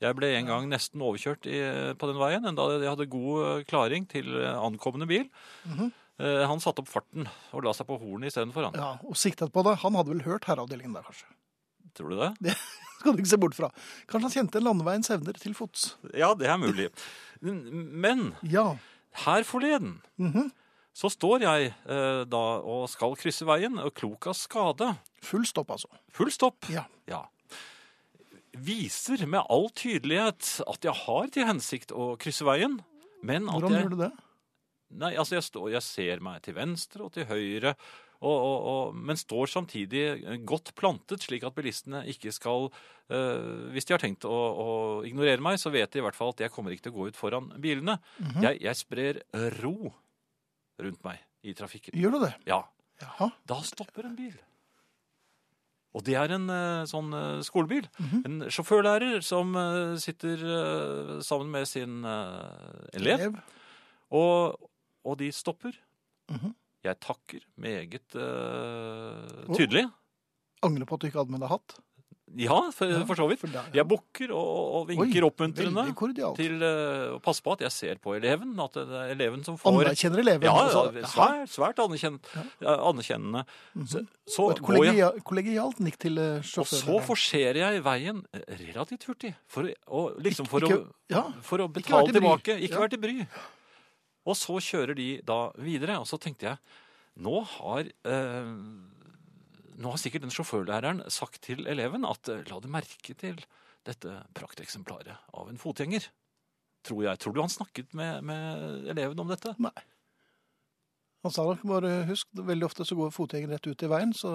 [SPEAKER 2] Jeg ble en gang nesten overkjørt i, eh, på den veien, enda jeg hadde god eh, klaring til eh, ankommende bil. Eh, Han satte opp farten og la seg på hornet istedenfor, han.
[SPEAKER 1] Ja, og siktet på det. Han hadde vel hørt herreavdelingen der, kanskje.
[SPEAKER 2] Tror du det?
[SPEAKER 1] Skal du ikke se bort fra. Kanskje han kjente landeveiens evner til fots.
[SPEAKER 2] Ja, det er mulig. Men
[SPEAKER 1] Ja.
[SPEAKER 2] her forleden
[SPEAKER 1] Mhm.
[SPEAKER 2] så står jeg eh, da og skal krysse veien, og klok av skade.
[SPEAKER 1] Full stopp, altså.
[SPEAKER 2] Full stopp.
[SPEAKER 1] Ja.
[SPEAKER 2] Viser med all tydelighet at jeg har til hensikt å krysse veien, men at
[SPEAKER 1] Hvordan
[SPEAKER 2] jeg
[SPEAKER 1] gjør du det?
[SPEAKER 2] Nei, altså jeg, står, jeg ser meg til venstre og til høyre, og, og, og, men står samtidig eh, godt plantet, slik at bilistene ikke skal eh, Hvis de har tenkt å, å ignorere meg, så vet de i hvert fall at jeg kommer ikke til å gå ut foran bilene. jeg, jeg sprer ro rundt meg i trafikken.
[SPEAKER 1] Gjør du det?
[SPEAKER 2] Ja.
[SPEAKER 1] Jaha.
[SPEAKER 2] Da stopper en bil. Og det er en eh, sånn eh, skolebil. En sjåførlærer som eh, sitter eh, sammen med sin eh, elev.
[SPEAKER 1] Elev.
[SPEAKER 2] Og, og de stopper.
[SPEAKER 1] Mhm.
[SPEAKER 2] Jeg takker meget eh,
[SPEAKER 1] Å.
[SPEAKER 2] tydelig.
[SPEAKER 1] Angrer på at du ikke hadde med deg hatt.
[SPEAKER 2] Ja, for,
[SPEAKER 1] Ja,
[SPEAKER 2] for så vidt.
[SPEAKER 1] For der,
[SPEAKER 2] Jeg bukker og, og
[SPEAKER 1] Oi,
[SPEAKER 2] vinker oppmuntrende
[SPEAKER 1] Veldig kordialt.
[SPEAKER 2] til eh, å passe på at jeg ser på eleven. At eh, det er eleven som får
[SPEAKER 1] Anerkjenner eleven.
[SPEAKER 2] ja, ja,
[SPEAKER 1] altså. Jaha. Mhm.
[SPEAKER 2] svært, svært anerkjenn, ja, anerkjennende. Så, så
[SPEAKER 1] Og et
[SPEAKER 2] går jeg,
[SPEAKER 1] kollegia, kollegialt nikk til eh,
[SPEAKER 2] og så
[SPEAKER 1] sjåføren.
[SPEAKER 2] forserer jeg veien eh, relativt hurtig. For, å- og, liksom for
[SPEAKER 1] ikke-
[SPEAKER 2] å
[SPEAKER 1] ja.
[SPEAKER 2] for å
[SPEAKER 1] Ikke
[SPEAKER 2] betale
[SPEAKER 1] vært i bry.
[SPEAKER 2] tilbake. Ikke
[SPEAKER 1] Ja.
[SPEAKER 2] vært i bry. Og så kjører de da videre. Og så tenkte jeg nå har, eh, nå har sikkert den sjåførlæreren sagt til eleven at eh, la du merke til dette prakteksemplaret av en fotgjenger. Tror, jeg. Tror du han snakket med, med eleven om dette?
[SPEAKER 1] Nei. Han sa nok bare husk, veldig ofte så går fotgjengeren rett ut i veien, så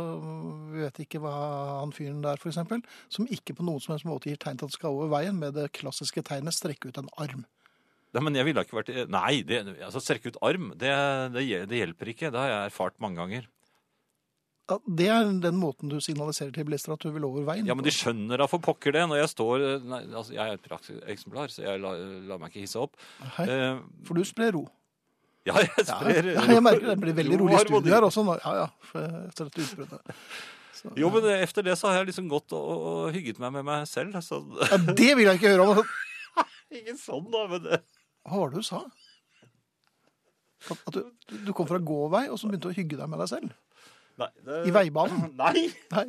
[SPEAKER 1] vi vet ikke hva han fyren der, for eksempel, som ikke på noen som helst måte gir tegn til at han skal over veien, med det klassiske tegnet strekke ut en arm.
[SPEAKER 2] Nei, men jeg ville ikke vært Nei, det, altså, strekke ut arm, det, det, hjel- det hjelper ikke. Det har jeg erfart mange ganger.
[SPEAKER 1] Ja, det er den måten du signaliserer til bilister at du vil over veien.
[SPEAKER 2] Ja, men de skjønner da for pokker det. Når jeg står eh, Nei, altså, jeg er et prakteksemplar, så jeg lar la meg ikke hisse opp.
[SPEAKER 1] Hei,
[SPEAKER 2] Eh,
[SPEAKER 1] For du sprer ro.
[SPEAKER 2] Ja, jeg
[SPEAKER 1] Ja,
[SPEAKER 2] sprer
[SPEAKER 1] ja, jeg merker det blir veldig
[SPEAKER 2] ro-
[SPEAKER 1] rolig i
[SPEAKER 2] harmoni.
[SPEAKER 1] studio her også. Nå. Ja, ja, for- etter dette utbruddet. Så-
[SPEAKER 2] Jo, men efter det så har jeg liksom gått og, og hygget meg med meg selv. Så...
[SPEAKER 1] ja, det vil jeg ikke høre om.
[SPEAKER 2] Ikke sånn, da, men det...
[SPEAKER 1] Hva var det du sa? At, at du, du kom fra gåvei, og så begynte du å hygge deg med deg selv?
[SPEAKER 2] Nei, det-
[SPEAKER 1] I veibanen?
[SPEAKER 2] Nei!
[SPEAKER 1] Nei.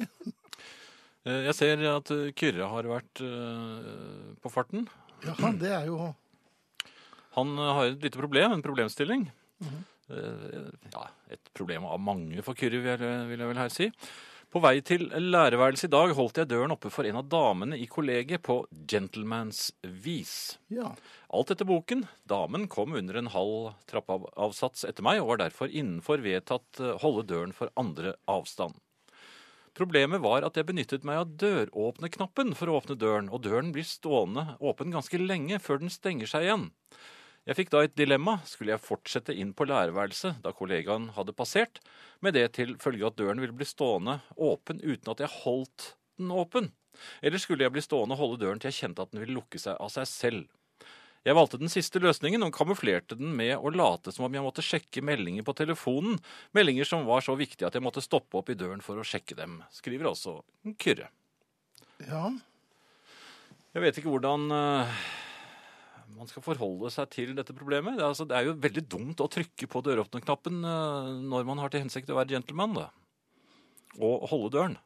[SPEAKER 2] Eh, Jeg ser at eh, Kyrre har vært eh, på farten.
[SPEAKER 1] Jaha, det er jo
[SPEAKER 2] Han eh, har et lite problem, en problemstilling.
[SPEAKER 1] Mhm.
[SPEAKER 2] Eh, Ja, et problem av mange for Kyrre, vil jeg, vil jeg vel her si. På vei til lærerværelset i dag holdt jeg døren oppe for en av damene i kollegiet på gentlemans vis.
[SPEAKER 1] Ja.
[SPEAKER 2] Alt etter boken. Damen kom under en halv trappeavsats etter meg, og var derfor innenfor vedtatt eh, holde døren for andre avstand. Problemet var at jeg benyttet meg av døråpneknappen for å åpne døren, og døren blir stående åpen ganske lenge før den stenger seg igjen. Jeg fikk da et dilemma. Skulle jeg fortsette inn på lærerværelset da kollegaen hadde passert, med det til følge at døren ville bli stående åpen uten at jeg holdt den åpen? Eller skulle jeg bli stående og holde døren til jeg kjente at den ville lukke seg av seg selv? Jeg valgte den siste løsningen og kamuflerte den med å late som om jeg måtte sjekke meldinger på telefonen, meldinger som var så viktige at jeg måtte stoppe opp i døren for å sjekke dem, skriver også Kyrre.
[SPEAKER 1] ja.
[SPEAKER 2] Jeg vet ikke hvordan eh, man skal forholde seg til dette problemet. Det er, altså, det er jo veldig dumt å trykke på døråpnerknappen eh, når man har til hensikt å være gentleman, da. Og holde døren.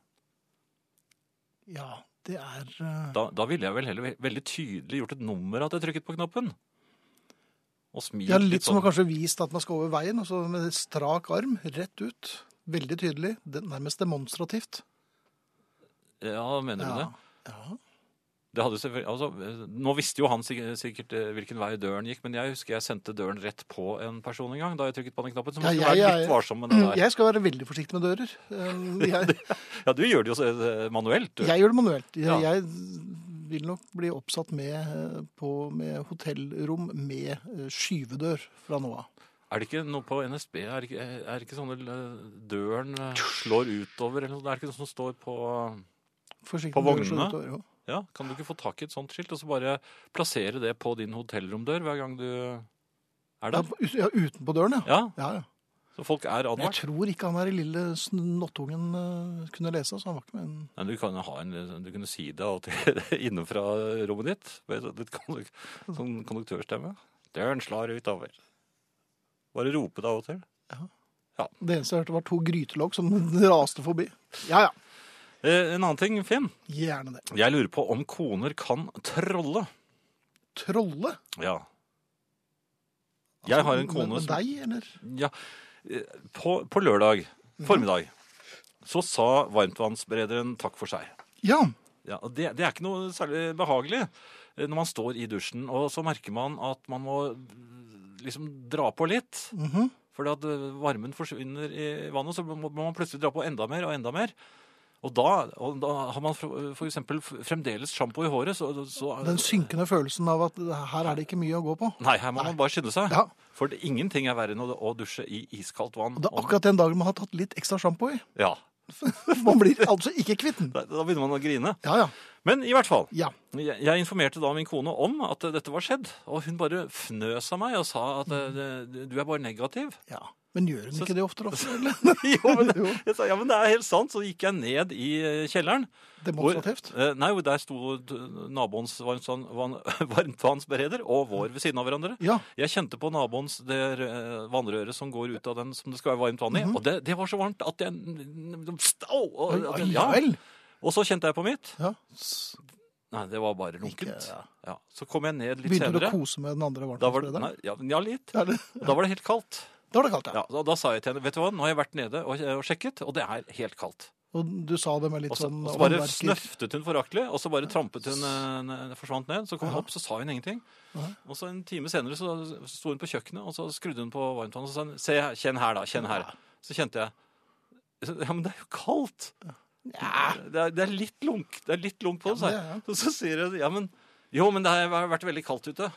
[SPEAKER 1] Ja, det er eh,
[SPEAKER 2] Da, da ville jeg vel heller ve- veldig tydelig gjort et nummer av at jeg trykket på knappen. Og smilt sånn.
[SPEAKER 1] ja, Litt som å kanskje vist at man skal over veien, og så med strak arm, rett ut. Veldig tydelig. Det, nærmest demonstrativt.
[SPEAKER 2] Ja, mener du det?
[SPEAKER 1] Ja.
[SPEAKER 2] det hadde selvfølgelig- altså, eh, nå visste jo han sik- sikkert eh, hvilken vei døren gikk, men jeg husker jeg sendte døren rett på en person en gang da jeg trykket på den knappen. Så man
[SPEAKER 1] Ja,
[SPEAKER 2] skal
[SPEAKER 1] jeg-
[SPEAKER 2] være
[SPEAKER 1] jeg-
[SPEAKER 2] litt varsom med det
[SPEAKER 1] Mm,
[SPEAKER 2] der.
[SPEAKER 1] Jeg skal være veldig forsiktig med dører. Eh, Jeg,
[SPEAKER 2] Ja, du gjør det jo eh, manuelt, du.
[SPEAKER 1] jeg gjør det manuelt. Jeg,
[SPEAKER 2] Ja.
[SPEAKER 1] jeg vil nok bli oppsatt med, eh, på, med hotellrom med eh, skyvedør fra nå av.
[SPEAKER 2] Er det ikke noe på NSB? Er det ikke, er det ikke sånn at døren eh, slår utover? Eller noe? sånt? Er det ikke noe som står på
[SPEAKER 1] Forsiktig
[SPEAKER 2] På
[SPEAKER 1] med dører, så
[SPEAKER 2] vognene?
[SPEAKER 1] det tar jo.
[SPEAKER 2] Ja, Kan du ikke få tak i et sånt skilt og så bare plassere det på din hotellromdør hver gang du er
[SPEAKER 1] Ja,
[SPEAKER 2] der?
[SPEAKER 1] på- ut- ja, utenpå døren, ja.
[SPEAKER 2] Ja,
[SPEAKER 1] ja, ja.
[SPEAKER 2] Så folk er
[SPEAKER 1] Men Jeg
[SPEAKER 2] advart?
[SPEAKER 1] tror ikke han her lille snottungen eh, kunne lese, så han var ikke med. Men
[SPEAKER 2] Nei, du, kan jo ha en, du kunne si det alltid innenfra rommet ditt. med sånn- litt konduk- Sånn konduktørstemme. Døren slår utover. Bare rope det av og til.
[SPEAKER 1] Det eneste jeg hørte, var to grytelokk som raste forbi. Ja, ja.
[SPEAKER 2] Eh, en annen ting, Finn.
[SPEAKER 1] Gjerne det.
[SPEAKER 2] Jeg lurer på om koner kan trolle.
[SPEAKER 1] Trolle? altså.
[SPEAKER 2] Ja. Jeg har en
[SPEAKER 1] Men-
[SPEAKER 2] kone
[SPEAKER 1] Med
[SPEAKER 2] som
[SPEAKER 1] deg, eller?
[SPEAKER 2] Ja, eh, på, på lørdag
[SPEAKER 1] Mhm.
[SPEAKER 2] formiddag så sa varmtvannsberederen takk for seg.
[SPEAKER 1] Ja.
[SPEAKER 2] Ja, og det, det er ikke noe særlig behagelig eh, når man står i dusjen, og så merker man at man må eh, liksom dra på litt.
[SPEAKER 1] mhm.
[SPEAKER 2] Fordi at eh, varmen forsvinner i vannet, så må må man plutselig dra på enda mer og enda mer. Og da, og da har man for for eksempel f- fremdeles sjampo i håret, så, så
[SPEAKER 1] Den synkende følelsen av at her er det ikke mye å gå på.
[SPEAKER 2] Nei, her må man bare skynde seg.
[SPEAKER 1] Ja.
[SPEAKER 2] For det, ingenting er verre enn å, å dusje i iskaldt vann.
[SPEAKER 1] Og det er akkurat den dagen man har tatt litt ekstra sjampo i.
[SPEAKER 2] Ja,
[SPEAKER 1] Man blir altså ikke kvitt den.
[SPEAKER 2] Da, da begynner man å grine.
[SPEAKER 1] Ja, ja.
[SPEAKER 2] Men i hvert fall,
[SPEAKER 1] ja.
[SPEAKER 2] jeg, jeg informerte da min kone om at eh, dette var skjedd, og hun bare fnøs av meg og sa at eh, det- du er bare negativ.
[SPEAKER 1] ja. Men gjør hun
[SPEAKER 2] Så-
[SPEAKER 1] ikke det oftere og oftere? eller?
[SPEAKER 2] jo, men,
[SPEAKER 1] Jo.
[SPEAKER 2] jeg sa, ja, men det er helt sant. Så gikk jeg ned i eh, kjelleren. hvor-
[SPEAKER 1] Demonstrativt?
[SPEAKER 2] eh, Nei, hvor der sto eh, naboens varmtvann- vann- varmtvannsbereder og vår ved siden av hverandre.
[SPEAKER 1] Ja.
[SPEAKER 2] Jeg kjente på naboens det eh, vannrøret som går ut av den som det skal være varmt vann i. Og det, det var så varmt at jeg Au! Og-
[SPEAKER 1] Mhm. Oi,
[SPEAKER 2] at
[SPEAKER 1] oi,
[SPEAKER 2] jeg-
[SPEAKER 1] ja vel.
[SPEAKER 2] Og så kjente jeg på mitt.
[SPEAKER 1] Ja. S-
[SPEAKER 2] Nei, det var bare lunkent.
[SPEAKER 1] Ikke-
[SPEAKER 2] Ja. Så kom jeg ned litt
[SPEAKER 1] Begynte du å
[SPEAKER 2] senere.
[SPEAKER 1] kose med den andre
[SPEAKER 2] Da var, det-
[SPEAKER 1] varmtvannsberederen?
[SPEAKER 2] nei, ja, ja, litt.
[SPEAKER 1] Ja, det-
[SPEAKER 2] Og da var det helt kaldt.
[SPEAKER 1] Da var det kaldt, ja.
[SPEAKER 2] Ja, da, da sa jeg til henne vet du hva, nå har jeg vært nede og, og sjekket, og det er helt kaldt.
[SPEAKER 1] Og du sa det med litt
[SPEAKER 2] Og så,
[SPEAKER 1] sånn
[SPEAKER 2] og så bare
[SPEAKER 1] håndverker-
[SPEAKER 2] snøftet hun foraktelig, og så bare trampet hun eh, ned- forsvant ned. Så kom hun
[SPEAKER 1] Ja.
[SPEAKER 2] opp, så sa hun ingenting.
[SPEAKER 1] Nei.
[SPEAKER 2] Og så en time senere så sto hun på kjøkkenet, og så skrudde hun på varmtvannet og så sa hun, Se, her, kjenn her, da. Kjenn her. Så kjente jeg Ja, men det er jo kaldt! Det, er, det er litt lunk. Det er litt lunk på det, sa jeg.
[SPEAKER 1] Ja, men
[SPEAKER 2] Og så sier hun ja, men Jo, men det har vært veldig kaldt ute.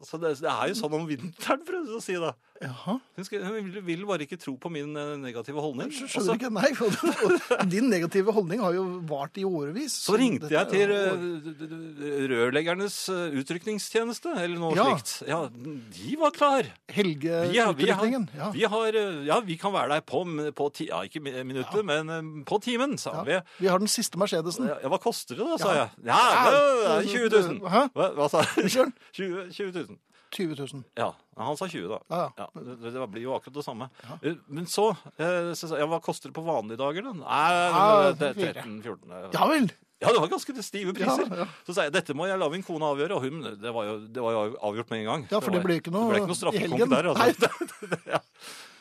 [SPEAKER 2] Så det, det er jo sånn om vinteren, prøvde hun å si, da.
[SPEAKER 1] det er- Jaha.
[SPEAKER 2] Hun, skal, hun vil, vil bare ikke tro på min eh, negative holdning.
[SPEAKER 1] Skj-
[SPEAKER 2] Og så-
[SPEAKER 1] Skjønner ikke, nei. for- Din negative holdning har jo vart i årevis.
[SPEAKER 2] Så ringte
[SPEAKER 1] Dette
[SPEAKER 2] jeg
[SPEAKER 1] er
[SPEAKER 2] til
[SPEAKER 1] jo-
[SPEAKER 2] eh, d- d- d- rørleggernes eh, utrykningstjeneste, eller noe
[SPEAKER 1] Ja.
[SPEAKER 2] slikt. Ja, de var klar.
[SPEAKER 1] Helge
[SPEAKER 2] Vi har- vi har-
[SPEAKER 1] utrykningen. Ja.
[SPEAKER 2] Vi har, eh, ja, vi kan være der på, m- på ti, ja, ikke mi- minuttet, men eh, på timen,
[SPEAKER 1] Ja.
[SPEAKER 2] sa vi.
[SPEAKER 1] Vi har den siste Mercedesen.
[SPEAKER 2] Ja, hva koster det da, sa
[SPEAKER 1] Ja.
[SPEAKER 2] jeg. Ja, det er 20 000.
[SPEAKER 1] Hæ?
[SPEAKER 2] Hva, hva sa jeg?
[SPEAKER 1] Unnskyld?
[SPEAKER 2] 20, 000.
[SPEAKER 1] 20 000.
[SPEAKER 2] Ja, han sa 20 da.
[SPEAKER 1] Ja, ja.
[SPEAKER 2] Ja, det, det blir jo akkurat det samme.
[SPEAKER 1] Ja.
[SPEAKER 2] Eh, Men så, eh, så sa jeg, ja, hva koster det på vanlige dager da? Nei,
[SPEAKER 1] Ja,
[SPEAKER 2] det er
[SPEAKER 1] Ah, fire.
[SPEAKER 2] 13-14.
[SPEAKER 1] Ja vel.
[SPEAKER 2] Ja, det var ganske stive priser.
[SPEAKER 1] Ja, ja.
[SPEAKER 2] Så sa jeg dette må jeg la min kone avgjøre, og hun, det var jo, det var jo avgjort med en gang.
[SPEAKER 1] Ja, for det
[SPEAKER 2] var-
[SPEAKER 1] ble ikke noe
[SPEAKER 2] det ble ikke noe
[SPEAKER 1] i
[SPEAKER 2] straffekonk altså.
[SPEAKER 1] helgen.
[SPEAKER 2] der.
[SPEAKER 1] Nei.
[SPEAKER 2] Altså. Det, det, ja.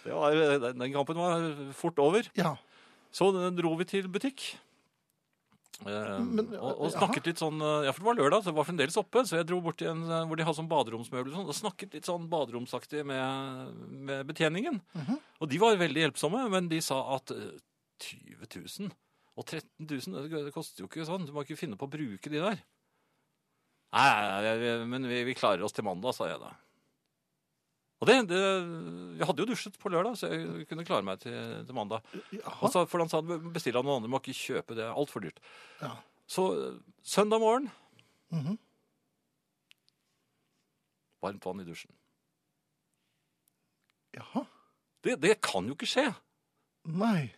[SPEAKER 2] det var, den kampen var fort over.
[SPEAKER 1] Ja.
[SPEAKER 2] Så eh, dro vi til butikk. Eh,
[SPEAKER 1] Men,
[SPEAKER 2] og, og
[SPEAKER 1] jaha.
[SPEAKER 2] snakket litt sånn eh, Ja, for det var lørdag, så det var fremdeles oppe. Så jeg dro bort til en eh, hvor de hadde sånn baderomsmøbler og sånn, og snakket litt sånn baderomsaktig med, med betjeningen.
[SPEAKER 1] Mhm.
[SPEAKER 2] Og de var veldig hjelpsomme, men de sa at eh, 20 000 og 13 000, det, det koster jo ikke sånn. Du må ikke finne på å bruke de der. Nei, jeg- jeg- men vi, vi klarer oss til mandag, sa jeg da. Og det, det Jeg hadde jo dusjet på lørdag, så jeg kunne klare meg til, til mandag. Han
[SPEAKER 1] Jaha.
[SPEAKER 2] sa, for han sa bestill av noen andre, må ikke kjøpe det, det er altfor dyrt.
[SPEAKER 1] Ja.
[SPEAKER 2] Så øh, søndag morgen,
[SPEAKER 1] Mhm.
[SPEAKER 2] varmt vann i dusjen.
[SPEAKER 1] Jaha.
[SPEAKER 2] Det, det kan jo ikke skje.
[SPEAKER 1] Nei.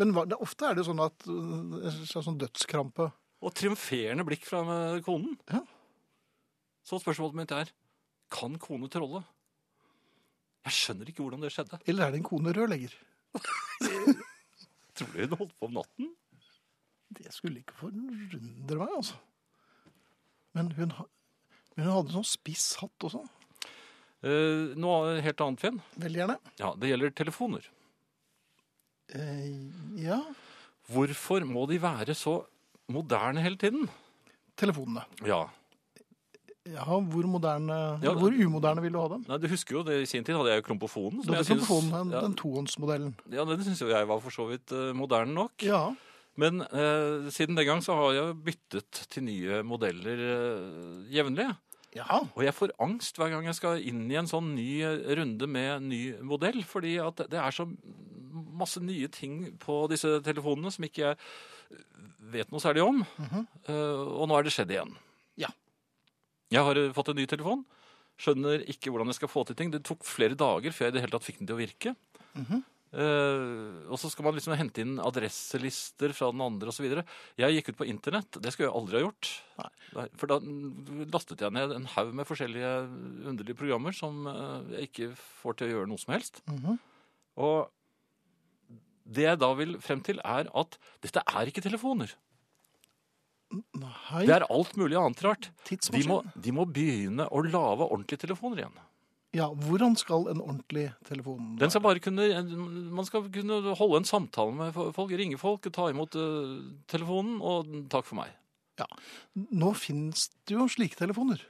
[SPEAKER 1] Men hva, det, ofte er det jo sånn at øh, en slags sånn dødskrampe
[SPEAKER 2] Og triumferende blikk fra øh, konen.
[SPEAKER 1] Ja.
[SPEAKER 2] Så spørsmålet mitt er, kan kone trolle? Jeg skjønner ikke hvordan det skjedde.
[SPEAKER 1] Eller er det en kone rørlegger?
[SPEAKER 2] Tror du hun holdt på om natten?
[SPEAKER 1] Det skulle ikke forundre meg, altså. Men hun, ha- men hun hadde sånn spiss hatt også.
[SPEAKER 2] Eh, noe helt annet, Finn.
[SPEAKER 1] Veldig gjerne.
[SPEAKER 2] Ja, det gjelder telefoner.
[SPEAKER 1] Eh, ja.
[SPEAKER 2] Hvorfor må de være så moderne hele tiden?
[SPEAKER 1] Telefonene.
[SPEAKER 2] Ja,
[SPEAKER 1] Ja, hvor moderne
[SPEAKER 2] Ja,
[SPEAKER 1] Hvor umoderne vil du ha dem?
[SPEAKER 2] Nei, du husker jo det i sin tid hadde jeg jo klompofonen.
[SPEAKER 1] Du
[SPEAKER 2] som
[SPEAKER 1] hadde
[SPEAKER 2] jeg synes-
[SPEAKER 1] telefonen, den,
[SPEAKER 2] ja,
[SPEAKER 1] den tohåndsmodellen.
[SPEAKER 2] Ja, den syns jo jeg var for så vidt eh, moderne nok.
[SPEAKER 1] Ja.
[SPEAKER 2] Men eh, siden den gang så har jeg byttet til nye modeller eh, jevnlig.
[SPEAKER 1] ja.
[SPEAKER 2] Og jeg får angst hver gang jeg skal inn i en sånn ny eh, runde med ny modell. Fordi at det er så masse nye ting på disse telefonene som ikke jeg eh, vet noe særlig om. Eh, og nå er det skjedd igjen.
[SPEAKER 1] Mhm. Ja.
[SPEAKER 2] Jeg har eh, fått en ny telefon. Skjønner ikke hvordan jeg skal få til ting. Det tok flere dager før jeg i det hele tatt fikk den til å virke.
[SPEAKER 1] Mhm.
[SPEAKER 2] Eh, og så skal man liksom hente inn adresselister fra den andre osv. Jeg gikk ut på internett. Det skulle jeg aldri ha gjort. Nei, For da mm, lastet jeg ned en haug med forskjellige underlige programmer som eh, jeg ikke får til å gjøre noe som helst.
[SPEAKER 1] Mhm.
[SPEAKER 2] Og det jeg da vil frem til, er at dette er ikke telefoner.
[SPEAKER 1] Nei,
[SPEAKER 2] Det er alt mulig annet rart. De
[SPEAKER 1] tidsmaskin.
[SPEAKER 2] må, de må begynne å lage ordentlige telefoner igjen.
[SPEAKER 1] Ja, hvordan skal en ordentlig telefon
[SPEAKER 2] Den skal bare kunne, man skal kunne holde en samtale med folk, ringe folk, ta imot eh, telefonen og takk for meg.
[SPEAKER 1] Nå finnes det jo slike telefoner.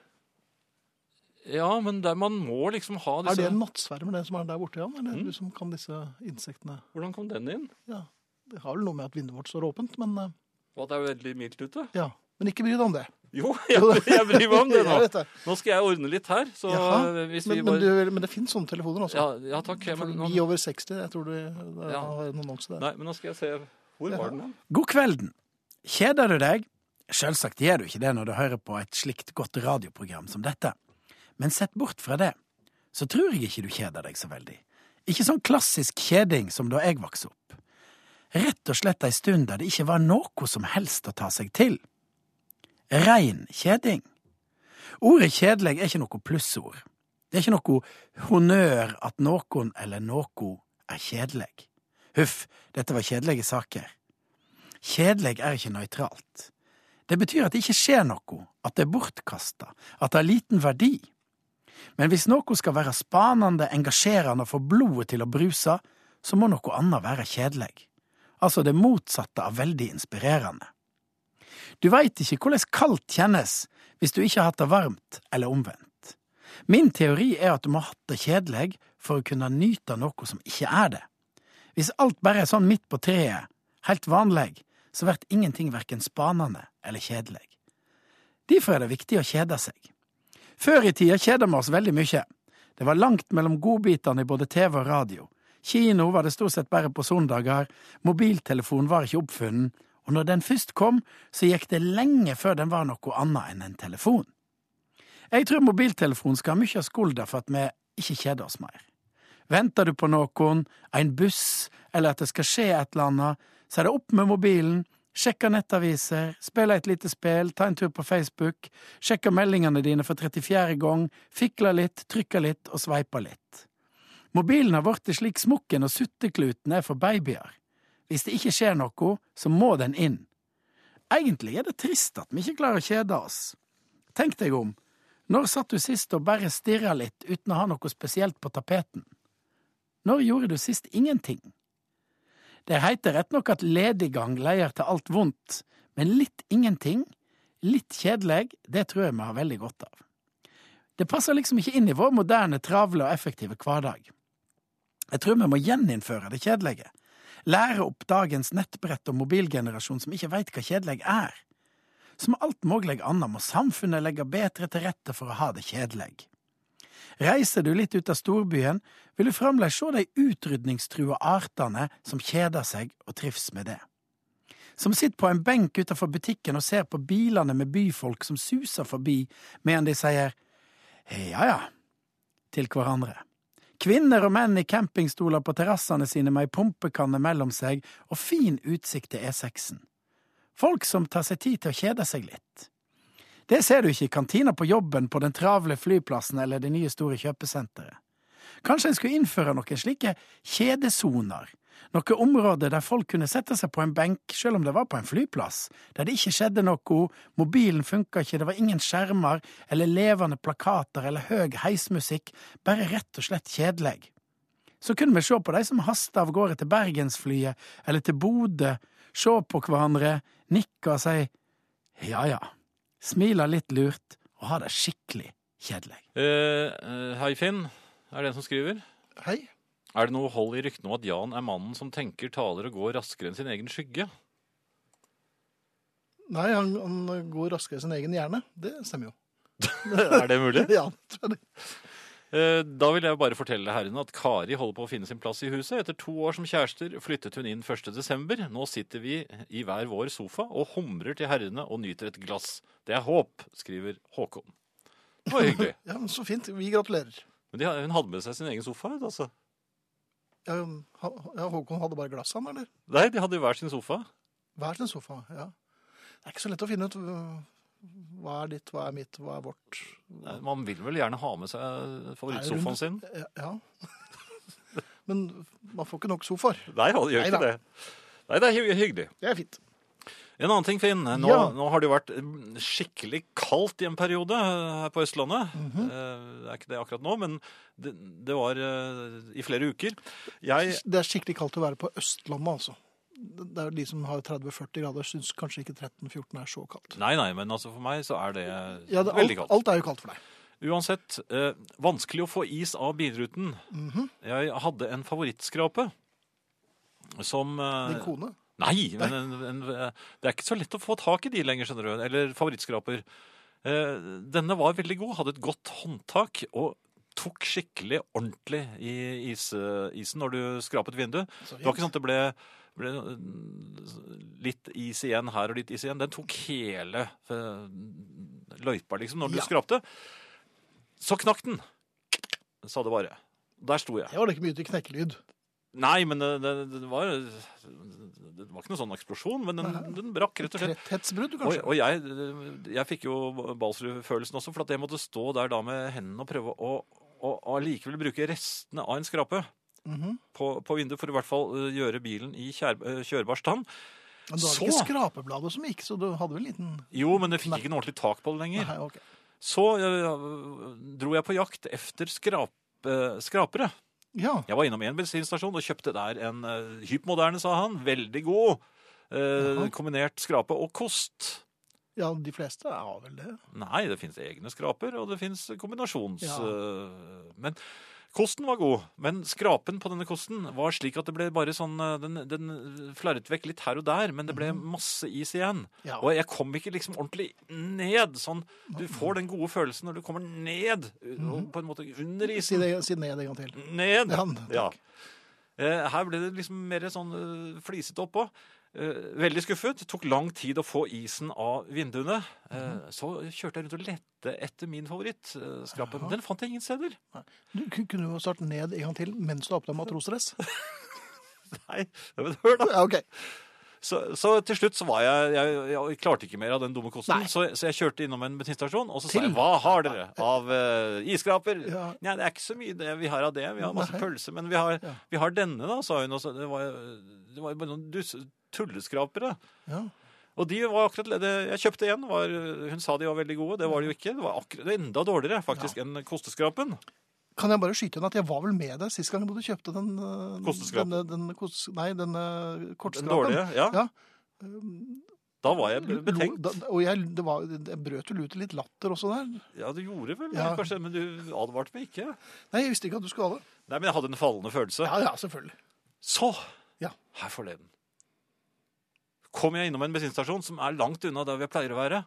[SPEAKER 2] Ja, men der man må liksom ha
[SPEAKER 1] Er
[SPEAKER 2] disse...
[SPEAKER 1] det en nattsvermer, den som er der borte, Jan? Eller
[SPEAKER 2] Mm.
[SPEAKER 1] du som kan disse insektene?
[SPEAKER 2] Hvordan kom den inn?
[SPEAKER 1] Ja, Det har vel noe med at vinduet vårt står åpent, men eh,
[SPEAKER 2] Og at det er veldig mildt ute?
[SPEAKER 1] ja. Men ikke bry deg om det.
[SPEAKER 2] Jo, jeg, jeg bryr meg om det nå.
[SPEAKER 1] Jeg vet det.
[SPEAKER 2] Nå skal jeg ordne litt her, så
[SPEAKER 1] Jaha,
[SPEAKER 2] hvis vi
[SPEAKER 1] Men, men,
[SPEAKER 2] bare...
[SPEAKER 1] du, men det fins sånne telefoner også.
[SPEAKER 2] Ja, ja, takk. jeg-
[SPEAKER 1] For
[SPEAKER 2] Men nå...
[SPEAKER 1] Vi over 60, jeg tror du det
[SPEAKER 2] Ja.
[SPEAKER 1] har en annonse der.
[SPEAKER 2] Nei, men nå skal jeg se... Hvor
[SPEAKER 1] Ja.
[SPEAKER 2] var den?
[SPEAKER 4] God kvelden. Kjeder du deg? Selvsagt gjør du ikke det når du hører på et slikt godt radioprogram som dette. Men sett bort fra det, så tror jeg ikke du kjeder deg så veldig. Ikke sånn klassisk kjeding som da jeg vokste opp. Rett og slett ei stund der det ikke var noe som helst å ta seg til. Rein kjeding. Ordet kjedelig er ikke noe plussord. Det er ikke noe honnør at noen eller noe er kjedelig. Huff, dette var kjedelige saker. Kjedelig er ikke nøytralt. Det betyr at det ikke skjer noe, at det er bortkasta, at det har liten verdi. Men hvis noe skal være spanende, engasjerende og få blodet til å bruse, så må noe annet være kjedelig. Altså det motsatte av veldig inspirerende. Du veit ikke hvordan kaldt kjennes hvis du ikke har hatt det varmt, eller omvendt. Min teori er at du må ha hatt det kjedelig for å kunne nyte noe som ikke er det. Hvis alt bare er sånn midt på treet, helt vanlig, så blir ingenting verken spanende eller kjedelig. Derfor er det viktig å kjede seg. Før i tida kjeda vi oss veldig mye. Det var langt mellom godbitene i både TV og radio. Kino var det stort sett bare på søndager, mobiltelefon var ikke oppfunnet, og når den først kom, så gikk det lenge før den var noe annet enn en telefon. Jeg tror mobiltelefonen skal ha mye av skulda for at vi ikke kjeder oss mer. Venter du på noen, en buss, eller at det skal skje et eller annet, så er det opp med mobilen, sjekke nettaviser, spille et lite spill, ta en tur på Facebook, sjekke meldingene dine for 34. gang, fikle litt, trykke litt og sveipe litt. Mobilen har blitt slik smokken og suttekluten er for babyer. Hvis det ikke skjer noe, så må den inn. Egentlig er det trist at vi ikke klarer å kjede oss. Tenk deg om. Når satt du sist og bare stirra litt uten å ha noe spesielt på tapeten? Når gjorde du sist ingenting? Det heiter rett nok at lediggang leier til alt vondt, men litt ingenting, litt kjedelig, det tror jeg vi har veldig godt av. Det passer liksom ikke inn i vår moderne, travle og effektive hverdag. Jeg tror vi må gjeninnføre det kjedelige. Lære opp dagens nettbrett og mobilgenerasjon som ikke veit hva kjedelig er. Som alt mulig annet må samfunnet legge bedre til rette for å ha det kjedelig. Reiser du litt ut av storbyen, vil du fremdeles se de utrydningstrua artene som kjeder seg og trives med det. Som sitter på en benk utenfor butikken og ser på bilene med byfolk som suser forbi, mens de sier ja ja til hverandre. Kvinner og menn i campingstoler på terrassene sine med ei pumpekanne mellom seg og fin utsikt til E6-en. Folk som tar seg tid til å kjede seg litt. Det ser du ikke i kantina på jobben, på den travle flyplassen eller det nye store kjøpesenteret. Kanskje en skulle innføre noen slike kjedesoner, noe område der folk kunne sette seg på en benk selv om det var på en flyplass, der det ikke skjedde noe, mobilen funka ikke, det var ingen skjermer eller levende plakater eller høy heismusikk, bare rett og slett kjedelig. Så kunne vi se på de som haster av gårde til Bergensflyet eller til Bodø, se på hverandre, nikke og si ja ja smile litt lurt og ha det skikkelig kjedelig.
[SPEAKER 2] Eh, eh, hei, Finn. Er det en som skriver?
[SPEAKER 1] Hei.
[SPEAKER 2] Er det noe hold i ryktene om at Jan er mannen som tenker, taler og går raskere enn sin egen skygge?
[SPEAKER 1] Nei, han, han går raskere i sin egen hjerne. Det stemmer jo.
[SPEAKER 2] Er det mulig?
[SPEAKER 1] Ja, tror jeg det.
[SPEAKER 2] Eh, Da vil jeg bare fortelle herrene at Kari holder på å finne sin plass i huset. Etter to år som kjærester flyttet hun inn 1. desember. Nå sitter vi i hver vår sofa og humrer til herrene og nyter et glass. Det er håp, skriver Håkon. Det var hyggelig.
[SPEAKER 1] Ja, men Så fint. Vi gratulerer.
[SPEAKER 2] Men de, hun hadde med seg sin egen sofa. altså.
[SPEAKER 1] Ja, um, ha- ja, Håkon hadde bare glass, han, eller?
[SPEAKER 2] Nei, de hadde jo hver sin sofa.
[SPEAKER 1] Hver sin sofa. ja. Det er ikke så lett å finne ut øh, hva er ditt, hva er mitt, hva er vårt.
[SPEAKER 2] Nei, Man vil vel gjerne ha med seg eh, favorittsofaen sin?
[SPEAKER 1] Ja, Eh, Ja. Men man får ikke nok sofaer.
[SPEAKER 2] Nei, han gjør
[SPEAKER 1] Neida.
[SPEAKER 2] ikke det. Nei, det er hy- hyggelig.
[SPEAKER 1] Det er fint.
[SPEAKER 2] En annen ting, Finn. Nå,
[SPEAKER 1] Ja.
[SPEAKER 2] nå har det jo vært mm, skikkelig kaldt i en periode eh, her på Østlandet.
[SPEAKER 1] Mhm.
[SPEAKER 2] Eh, Det er ikke det akkurat nå, men det, det var eh, i flere uker. Jeg
[SPEAKER 1] Det er skikkelig kaldt å være på Østlandet, altså. Det er jo De som har 30-40 grader, syns kanskje ikke 13-14 er så kaldt.
[SPEAKER 2] Nei, nei, men altså for meg så er det,
[SPEAKER 1] Ja, det, alt,
[SPEAKER 2] veldig kaldt.
[SPEAKER 1] alt er jo kaldt for deg.
[SPEAKER 2] Uansett, eh, vanskelig å få is av bilruten. Jeg hadde en favorittskrape som eh,
[SPEAKER 1] Din kone.
[SPEAKER 2] Nei, men en, en, det er ikke så lett å få tak i de lenger, skjønner du. Eller favorittskraper. Eh, denne var veldig god, hadde et godt håndtak og tok skikkelig ordentlig i is, isen når du skrapet vinduet.
[SPEAKER 1] Så
[SPEAKER 2] Det var ikke sånn at det ble, ble eh, litt is igjen her og litt is igjen. Den tok hele eh, løypa, liksom, når du
[SPEAKER 1] Ja.
[SPEAKER 2] skrapte. Så knakk den, sa det bare. Der sto jeg.
[SPEAKER 1] Det var da ikke mye til knekkelyd.
[SPEAKER 2] Nei, men det, det, det, var, det var ikke noen sånn eksplosjon, men den, den brakk rett og slett.
[SPEAKER 1] Tretthetsbrudd,
[SPEAKER 2] Og,
[SPEAKER 1] kanskje.
[SPEAKER 2] og jeg, jeg fikk jo Balsrud-følelsen også, for at jeg måtte stå der da med hendene og prøve å, å, å likevel bruke restene av en skrape
[SPEAKER 1] Mhm.
[SPEAKER 2] på, på vinduet, for i hvert fall eh, gjøre bilen i kjær, eh, kjørbar stand.
[SPEAKER 1] Men du hadde
[SPEAKER 2] Så-
[SPEAKER 1] ikke skrapebladet som gikk, så du hadde vel en liten
[SPEAKER 2] Jo, men jeg fikk ikke noe ordentlig tak på det lenger.
[SPEAKER 1] Nei, ok.
[SPEAKER 2] Så eh, dro jeg på jakt efter skrap, eh, skrapere.
[SPEAKER 1] Ja.
[SPEAKER 2] Jeg var innom en bensinstasjon og kjøpte der en eh, hypmoderne, sa han. Veldig god. eh,
[SPEAKER 1] Jaha.
[SPEAKER 2] kombinert skrape og kost.
[SPEAKER 1] ja, de fleste er vel det.
[SPEAKER 2] Nei, det fins egne skraper, og det fins kombinasjons...
[SPEAKER 1] Ja.
[SPEAKER 2] eh, men kosten var god. Men skrapen på denne kosten var slik at det ble bare sånn eh, Den, den flarret vekk litt her og der, men det ble masse is igjen.
[SPEAKER 1] Mhm. Ja.
[SPEAKER 2] Og jeg kom ikke liksom ordentlig ned. Sånn, du får den gode følelsen når du kommer ned, eh, og på en måte under isen.
[SPEAKER 1] Mhm. Si, det, si ned en gang til.
[SPEAKER 2] Ned!
[SPEAKER 1] Ja, takk.
[SPEAKER 2] Ja. Eh, Her ble det liksom mer sånn eh, flisete oppå. Eh, Veldig skuffet. Det tok lang tid å få isen av vinduene. Eh,
[SPEAKER 1] Mhm.
[SPEAKER 2] Så kjørte jeg rundt og lette etter min favorittskrape. Men den fant jeg ingen steder.
[SPEAKER 1] Du ku- kunne jo starte ned en gang til mens du har på deg matrosdress.
[SPEAKER 2] Nei, men hør da.
[SPEAKER 1] Ja, ok.
[SPEAKER 2] Så, så til slutt så var jeg, jeg Jeg klarte ikke mer av den dumme kosten. Så, så jeg kjørte innom en bensinstasjon, og så sa jeg Hva har dere av eh, iskraper?
[SPEAKER 1] Ja.
[SPEAKER 2] Nei, det er ikke så mye det vi har av det. Vi har masse
[SPEAKER 1] Nei.
[SPEAKER 2] pølse, men vi har, vi har denne, da, sa hun. Og så, det, var, det var jo bare noen dus- tulleskrapere.
[SPEAKER 1] Ja.
[SPEAKER 2] Og de var akkurat det Jeg kjøpte en. Var, hun sa de var veldig gode. Det var de jo ikke. Det var akkurat, det var enda dårligere faktisk enn kosteskrapen.
[SPEAKER 1] Kan jeg bare skyte inn at jeg var vel med deg sist gang da du kjøpte den eh,
[SPEAKER 2] Kosteskrapen.
[SPEAKER 1] denne- den kos- nei, denne kortskrapen.
[SPEAKER 2] Den dårlige. Ja.
[SPEAKER 1] Ja.
[SPEAKER 2] Da var jeg be- betenkt.
[SPEAKER 1] Lo- da- Og jeg, det var, jeg brøt vel ut i litt latter også der.
[SPEAKER 2] Ja, du gjorde vel det,
[SPEAKER 1] Ja.
[SPEAKER 2] kanskje, men du advarte meg ikke.
[SPEAKER 1] Nei, jeg visste ikke at du skulle ha det.
[SPEAKER 2] Nei, men jeg hadde en fallende følelse.
[SPEAKER 1] Ja, ja, selvfølgelig.
[SPEAKER 2] Så,
[SPEAKER 1] Ja.
[SPEAKER 2] her forleden, kom jeg innom en bensinstasjon som er langt unna der vi pleier å være.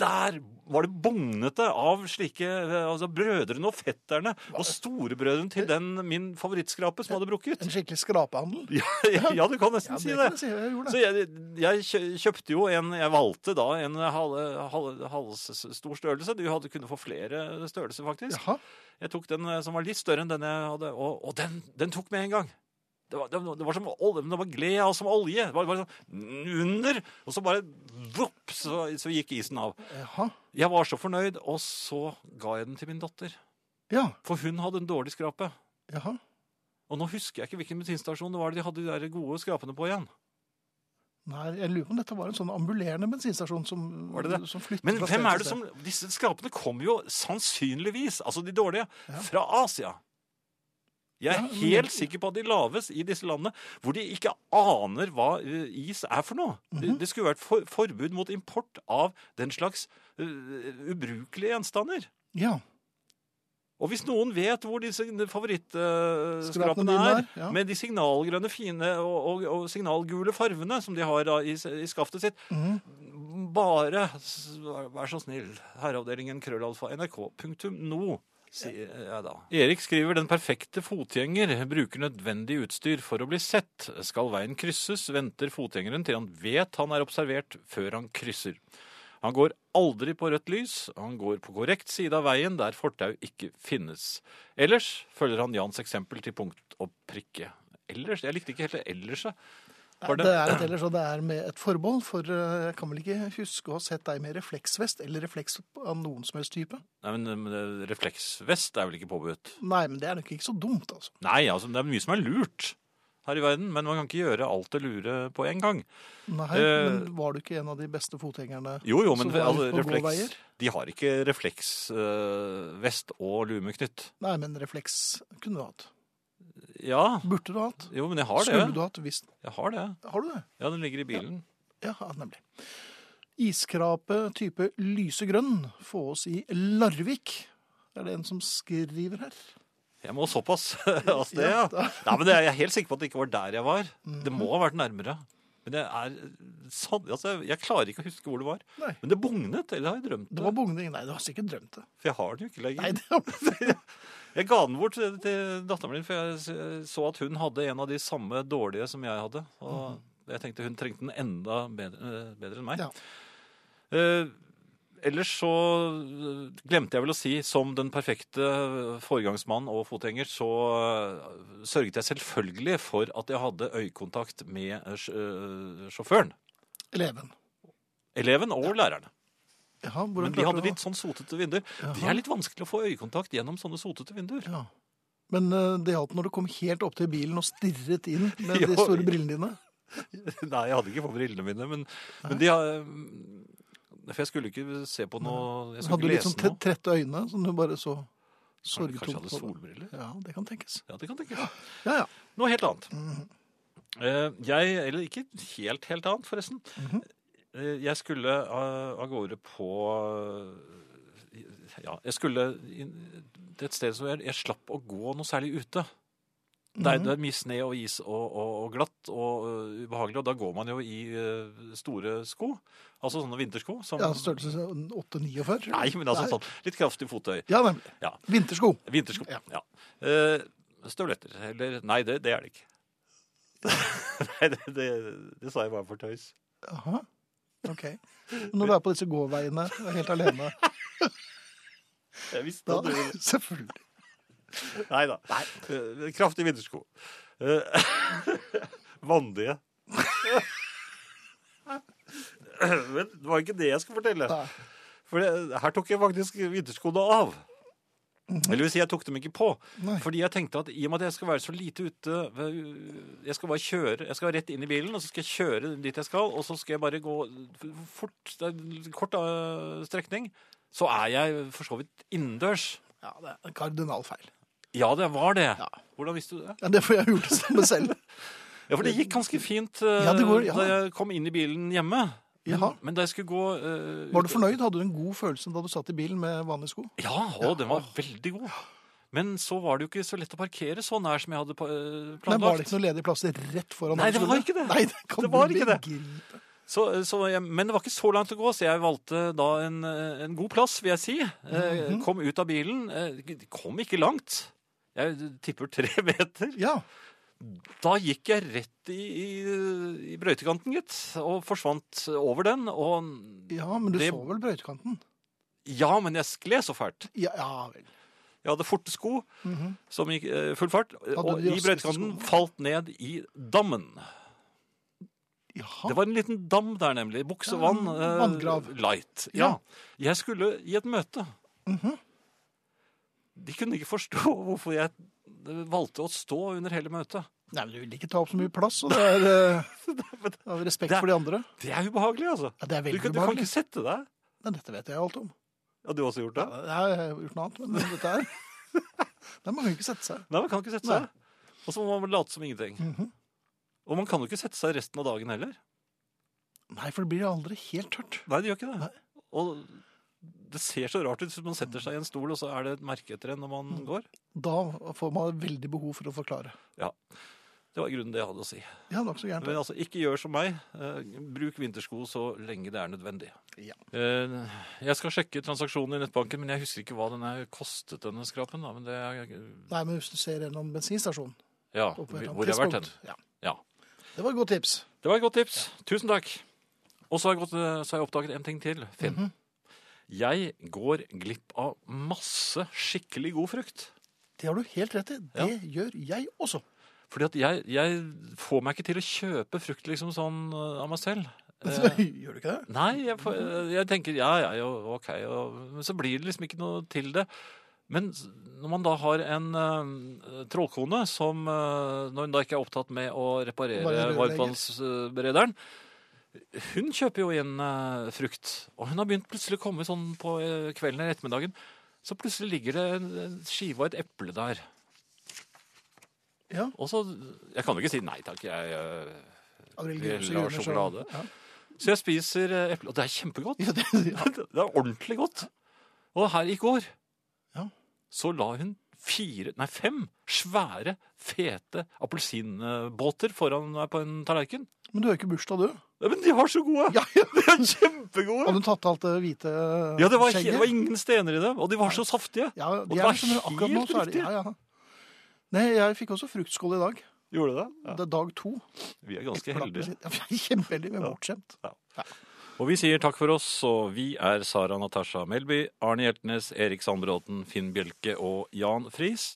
[SPEAKER 2] Der var det bugnete av slike eh, altså, brødrene og fetterne og storebrødrene til den min favorittskrape som hadde brukket.
[SPEAKER 1] En skikkelig skrapehandel.
[SPEAKER 2] Ja, ja, du kan
[SPEAKER 1] Ja,
[SPEAKER 2] nesten si
[SPEAKER 1] det kan jeg
[SPEAKER 2] det.
[SPEAKER 1] si. Jeg gjorde det.
[SPEAKER 2] Så jeg, jeg kjø- kjøpte jo en Jeg valgte da en halvstor halv, halvstor størrelse. Du hadde kunne få flere størrelser, faktisk.
[SPEAKER 1] Jaha.
[SPEAKER 2] Jeg tok den eh, som var litt større enn den jeg hadde, og, og den, den tok med en gang. Det var, det, var- det var som olje, men det var gled av som olje. Det var, det var sånn under, og så bare vopp, så, så gikk isen av.
[SPEAKER 1] Jaha.
[SPEAKER 2] Jeg var så fornøyd, og så ga jeg den til min datter.
[SPEAKER 1] Ja,
[SPEAKER 2] For hun hadde en dårlig skrape.
[SPEAKER 1] jaha.
[SPEAKER 2] Og nå husker jeg ikke hvilken bensinstasjon det var de hadde de der gode skrapene på igjen.
[SPEAKER 1] Nei, jeg lurer på om dette var en sånn ambulerende bensinstasjon som,
[SPEAKER 2] Var det det?
[SPEAKER 1] som flyttet
[SPEAKER 2] Men
[SPEAKER 1] fra sted
[SPEAKER 2] hvem
[SPEAKER 1] til
[SPEAKER 2] er det
[SPEAKER 1] sted.
[SPEAKER 2] som Disse skrapene kommer jo sannsynligvis, altså de dårlige,
[SPEAKER 1] Ja.
[SPEAKER 2] fra Asia. Jeg er
[SPEAKER 1] Ja, men-
[SPEAKER 2] helt sikker på at de laves i disse landene hvor de ikke aner hva eh, is er for noe.
[SPEAKER 1] Mhm.
[SPEAKER 2] Det- Det skulle vært for, forbud mot import av den slags eh, ubrukelige gjenstander.
[SPEAKER 1] Ja,
[SPEAKER 2] Og hvis noen vet hvor disse
[SPEAKER 1] Skrapene
[SPEAKER 2] favorittskrapene
[SPEAKER 1] dine
[SPEAKER 2] er,
[SPEAKER 1] er, ja.
[SPEAKER 2] med de signalgrønne fine og, og, og signalgule farvene som de har da i, i skaftet sitt,
[SPEAKER 1] mhm.
[SPEAKER 2] bare s- vær så snill, herreavdelingen krøllalfa nrk.no, sier jeg da. Erik skriver den perfekte fotgjenger bruker nødvendig utstyr for å bli sett. Skal veien krysses, venter fotgjengeren til han vet han er observert før han krysser. Han går aldri på rødt lys, og han går på korrekt side av veien der fortau ikke finnes. Ellers følger han Jans eksempel til punkt og prikke. Ellers? Jeg likte ikke helt det ellers. jeg.
[SPEAKER 1] Nei,
[SPEAKER 2] Var det-
[SPEAKER 1] det er et ellers, og det er med et forbehold, for eh, jeg kan vel ikke huske å ha sett deg med refleksvest eller refleks av noen som helst type.
[SPEAKER 2] Nei, men, men eh, refleksvest er vel ikke påbudt?
[SPEAKER 1] Nei, men det er nok ikke så dumt, altså.
[SPEAKER 2] Nei, altså, det er mye som er lurt her i verden, men man kan ikke gjøre alt det lure på en gang.
[SPEAKER 1] Nei,
[SPEAKER 2] Eh,
[SPEAKER 1] men var du ikke en av de beste fotgjengerne?
[SPEAKER 2] Jo, jo, men
[SPEAKER 1] Som var
[SPEAKER 2] altså,
[SPEAKER 1] ute på gåveier?
[SPEAKER 2] refleks, de har ikke refleksvest øh, og lumeknytt.
[SPEAKER 1] Nei, men refleks kunne du hatt.
[SPEAKER 2] Ja,
[SPEAKER 1] Burde du hatt?
[SPEAKER 2] jo, men jeg har
[SPEAKER 1] Skulle du
[SPEAKER 2] det.
[SPEAKER 1] hatt hvis
[SPEAKER 2] Jeg har det.
[SPEAKER 1] Har du det?
[SPEAKER 2] Ja, den ligger i bilen.
[SPEAKER 1] Ja, nemlig. Iskrape type lysegrønn få oss i Larvik. Er det en som skriver her?
[SPEAKER 2] Jeg må såpass av sted, ja.
[SPEAKER 1] da. Mhm.
[SPEAKER 2] Nei, men det- jeg er helt sikker på at det ikke var der jeg var. Det må ha vært nærmere. Men det er sann- altså, Jeg klarer ikke å huske hvor det var.
[SPEAKER 1] Nei.
[SPEAKER 2] Men det bugnet, eller har jeg drømt
[SPEAKER 1] Det
[SPEAKER 2] det?
[SPEAKER 1] var bugning. Nei, du har sikkert drømt det.
[SPEAKER 2] For jeg har den jo ikke lenger.
[SPEAKER 1] Nei, det var...
[SPEAKER 2] Jeg ga den bort til, til datteren min, for jeg s- så at hun hadde en av de samme dårlige som jeg hadde. Og jeg tenkte hun trengte den enda bedre, eh, bedre enn
[SPEAKER 1] Mhm.
[SPEAKER 2] meg.
[SPEAKER 1] Ja.
[SPEAKER 2] Eh, ellers så eh, glemte jeg vel å si, som den perfekte foregangsmann og fotgjenger, så eh, sørget jeg selvfølgelig for at jeg hadde øyekontakt med eh, sj- eh, sjåføren.
[SPEAKER 1] Eleven.
[SPEAKER 2] Eleven og lærerne.
[SPEAKER 1] Jaha, hvordan
[SPEAKER 2] Men de
[SPEAKER 1] klarte
[SPEAKER 2] hadde
[SPEAKER 1] du
[SPEAKER 2] litt sånn sotete vinduer. Det
[SPEAKER 1] Jaha.
[SPEAKER 2] er litt vanskelig å få øyekontakt gjennom sånne sotete vinduer.
[SPEAKER 1] Ja. Men eh, det hjalp når du kom helt opp til bilen og stirret inn med
[SPEAKER 2] Jo.
[SPEAKER 1] de store brillene dine.
[SPEAKER 2] Nei, jeg hadde ikke på brillene mine, men, men de har um, For jeg skulle ikke se på noe Jeg
[SPEAKER 1] Hadde
[SPEAKER 2] skulle
[SPEAKER 1] du
[SPEAKER 2] ikke
[SPEAKER 1] litt
[SPEAKER 2] lese
[SPEAKER 1] sånn tre-
[SPEAKER 2] noe.
[SPEAKER 1] trette øyne som du bare så
[SPEAKER 2] Kanskje jeg
[SPEAKER 1] sorgtungt
[SPEAKER 2] hadde solbriller?
[SPEAKER 1] Ja, det kan tenkes.
[SPEAKER 2] Ja, det kan tenkes.
[SPEAKER 1] Ja, ja.
[SPEAKER 2] Noe helt annet.
[SPEAKER 1] Mhm.
[SPEAKER 2] Eh, Jeg Eller ikke helt, helt annet, forresten.
[SPEAKER 1] Mhm.
[SPEAKER 2] Eh, Jeg skulle eh, av gårde på eh, Ja, jeg skulle inn- til et sted som jeg, jeg slapp å gå noe særlig ute. Det
[SPEAKER 1] Mhm.
[SPEAKER 2] er, det er mye sne og is og, og, og glatt og eh, ubehagelig, og da går man jo i eh, store sko. Altså sånne vintersko. Som,
[SPEAKER 1] ja størrelse sånn 8-49?
[SPEAKER 2] Nei, men altså sånn litt kraftig fottøy.
[SPEAKER 1] Ja, nemlig.
[SPEAKER 2] Ja.
[SPEAKER 1] Vintersko.
[SPEAKER 2] Vintersko. Ja. Eh, støvletter. Eller Nei, det, det er det ikke. nei, det, det, det sa jeg bare for tøys.
[SPEAKER 1] Jaha. Ok. Når du er på disse gåveiene og helt alene,
[SPEAKER 2] Jeg visste
[SPEAKER 1] da
[SPEAKER 2] at du
[SPEAKER 1] Selvfølgelig.
[SPEAKER 2] Nei da. Eh, kraftige vintersko. Eh, Vandige. Men det var ikke det jeg skulle fortelle.
[SPEAKER 1] Nei.
[SPEAKER 2] For det, her tok jeg faktisk vinterskoene av. Eller vil si, jeg tok dem ikke på.
[SPEAKER 1] Mhm. Nei.
[SPEAKER 2] Fordi jeg tenkte at i og med at jeg skal være så lite ute øh, Jeg skal bare kjøre, jeg skal rett inn i bilen, og så skal jeg kjøre dit jeg skal, og så skal jeg bare gå f- fort, det er en kort eh, øh, strekning, så er jeg for så vidt innendørs.
[SPEAKER 1] Ja, det er en kardinalfeil.
[SPEAKER 2] Ja, det var det.
[SPEAKER 1] Ja.
[SPEAKER 2] Hvordan visste du det?
[SPEAKER 1] Ja, det får jeg gjort det selv.
[SPEAKER 2] Ja, for det gikk ganske fint eh,
[SPEAKER 1] Ja, det går- ja.
[SPEAKER 2] da jeg kom inn i bilen hjemme. Men,
[SPEAKER 1] Jaha.
[SPEAKER 2] men da jeg skulle gå eh,
[SPEAKER 1] Var du
[SPEAKER 2] ut-
[SPEAKER 1] fornøyd? Hadde du en god følelse da du satt i bilen med vanlige sko?
[SPEAKER 2] Ja, og den var veldig god. Men så var det jo ikke så lett å parkere så nær som jeg hadde pa- eh,
[SPEAKER 1] Men var det
[SPEAKER 2] planlagt.
[SPEAKER 1] ikke noen ledige plasser rett foran
[SPEAKER 2] Nei,
[SPEAKER 1] der du
[SPEAKER 2] det var
[SPEAKER 1] skulle?
[SPEAKER 2] ikke det.
[SPEAKER 1] Nei, det, kan
[SPEAKER 2] Det var
[SPEAKER 1] du
[SPEAKER 2] ikke det.
[SPEAKER 1] begripe.
[SPEAKER 2] Så, eh, så jeg, men det var ikke så langt å gå, så jeg valgte da en, eh, en god plass, vil jeg si. Eh,
[SPEAKER 1] Mhm.
[SPEAKER 2] Kom ut av bilen. eh, Kom ikke langt. Jeg tipper tre meter.
[SPEAKER 1] Ja.
[SPEAKER 2] Da gikk jeg rett i, i, i brøytekanten, gitt, og forsvant over den. Og
[SPEAKER 1] ja, men du
[SPEAKER 2] Det-
[SPEAKER 1] så vel brøytekanten?
[SPEAKER 2] ja, men jeg skled så fælt.
[SPEAKER 1] Ja, ja vel.
[SPEAKER 2] Jeg hadde forte sko
[SPEAKER 1] Mhm.
[SPEAKER 2] som gikk eh, full fart, og
[SPEAKER 1] de
[SPEAKER 2] i
[SPEAKER 1] raskeste
[SPEAKER 2] brøytekanten
[SPEAKER 1] skoene?
[SPEAKER 2] falt ned i dammen.
[SPEAKER 1] Jaha.
[SPEAKER 2] Det var en liten dam der, nemlig. Buksevann.
[SPEAKER 1] Ja,
[SPEAKER 2] eh,
[SPEAKER 1] vanngrav.
[SPEAKER 2] Light. Ja. Jeg skulle i et møte.
[SPEAKER 1] Mhm.
[SPEAKER 2] De kunne ikke forstå hvorfor jeg valgte å stå under hele møtet.
[SPEAKER 1] Nei, men Du vil ikke ta opp så mye plass, og det er eh, av respekt
[SPEAKER 2] Det-
[SPEAKER 1] for de andre.
[SPEAKER 2] Det er ubehagelig, altså.
[SPEAKER 1] Ja, det er
[SPEAKER 2] Du,
[SPEAKER 1] veldig
[SPEAKER 2] kan- du kan
[SPEAKER 1] ubehagelig.
[SPEAKER 2] ikke sette deg.
[SPEAKER 1] Nei, dette vet jeg alt om.
[SPEAKER 2] Ja, du har også gjort det?
[SPEAKER 1] Ja, Jeg har gjort noe annet, men dette er Der må man jo ikke sette seg.
[SPEAKER 2] Nei, man kan ikke sette
[SPEAKER 1] Nei.
[SPEAKER 2] seg. Og så må man late som ingenting.
[SPEAKER 1] Mhm.
[SPEAKER 2] Og man kan jo ikke sette seg resten av dagen heller.
[SPEAKER 1] Nei, for det blir aldri helt tørt.
[SPEAKER 2] Nei, det gjør ikke det. Og det ser så rart ut som man setter seg i en stol, og så er det et merke etter en når
[SPEAKER 1] Mm.
[SPEAKER 2] man går.
[SPEAKER 1] Da får man veldig behov for å forklare.
[SPEAKER 2] Det var i grunnen det jeg hadde å si.
[SPEAKER 1] Ja, nokså gærent.
[SPEAKER 2] Men altså, ikke gjør som meg. Eh, Bruk vintersko så lenge det er nødvendig.
[SPEAKER 1] Ja.
[SPEAKER 2] Eh, Jeg skal sjekke transaksjonen i nettbanken, men jeg husker ikke hva den er kostet, denne skrapen. Da. Men det er,
[SPEAKER 1] Nei, men hvis du ser gjennom bensinstasjonen
[SPEAKER 2] ja,
[SPEAKER 1] på et eller annet
[SPEAKER 2] hvor jeg har vært hen.
[SPEAKER 1] tidspunkt. Ja.
[SPEAKER 2] Ja.
[SPEAKER 1] Det var et godt tips.
[SPEAKER 2] Det var et godt tips. Tusen takk. Og så har jeg, gått, eh, så har jeg oppdaget en ting til, Finn.
[SPEAKER 1] Mhm.
[SPEAKER 2] Jeg går glipp av masse skikkelig god frukt.
[SPEAKER 1] Det har du helt rett i. Det gjør jeg også.
[SPEAKER 2] Fordi at jeg, jeg får meg ikke til å kjøpe frukt liksom sånn eh, av meg selv. Eh,
[SPEAKER 1] gjør du ikke det?
[SPEAKER 2] nei, jeg, får, eh, jeg tenker ja, ja, jo, ok. Og, men så blir det liksom ikke noe til det. Men s- når man da har en eh, trollkone som eh, Når hun da ikke er opptatt med å reparere
[SPEAKER 1] Bare rørlegger.
[SPEAKER 2] varmtvannsberederen Hun kjøper jo inn eh, frukt. Og hun har begynt plutselig å komme sånn på eh, kvelden eller ettermiddagen. Så plutselig ligger det en en skive og et eple der.
[SPEAKER 1] Ja.
[SPEAKER 2] Og så Jeg kan jo ikke si nei takk, jeg eh,
[SPEAKER 1] Avril
[SPEAKER 2] Vel,
[SPEAKER 1] Grønse
[SPEAKER 2] og
[SPEAKER 1] gjør det selv.
[SPEAKER 2] sjokolade.
[SPEAKER 1] Ja.
[SPEAKER 2] Så jeg spiser eh, eple, og det er kjempegodt.
[SPEAKER 1] Ja, det, ja.
[SPEAKER 2] Det er ordentlig godt. Og her i går
[SPEAKER 1] Ja.
[SPEAKER 2] så la hun fire, nei fem svære, fete appelsinbåter foran meg på en tallerken.
[SPEAKER 1] Men du har jo ikke bursdag, du.
[SPEAKER 2] Nei, men de var så gode!
[SPEAKER 1] Ja, ja.
[SPEAKER 2] De er kjempegode!
[SPEAKER 1] Hadde du tatt alt det hvite
[SPEAKER 2] Ja, det var, he-
[SPEAKER 1] skjegget?
[SPEAKER 2] det var ingen stener i dem, og de var så saftige.
[SPEAKER 1] Ja,
[SPEAKER 2] det
[SPEAKER 1] de
[SPEAKER 2] var
[SPEAKER 1] er liksom, akkurat nå
[SPEAKER 2] helt
[SPEAKER 1] så er de
[SPEAKER 2] riktig.
[SPEAKER 1] ja, ja. Nei, jeg fikk også fruktskål i dag.
[SPEAKER 2] Gjorde det? Ja.
[SPEAKER 1] Det er dag to.
[SPEAKER 2] Vi er ganske
[SPEAKER 1] Platt
[SPEAKER 2] heldige.
[SPEAKER 1] appelsin. Ja, vi er Kjempeheldige, men
[SPEAKER 2] Ja.
[SPEAKER 1] bortskjemt.
[SPEAKER 2] Og vi sier takk for oss, og vi er Sara Natasha Melby, Arne Hjeltnes, Erik Sandbråten, Finn Bjelke og Jan Friis.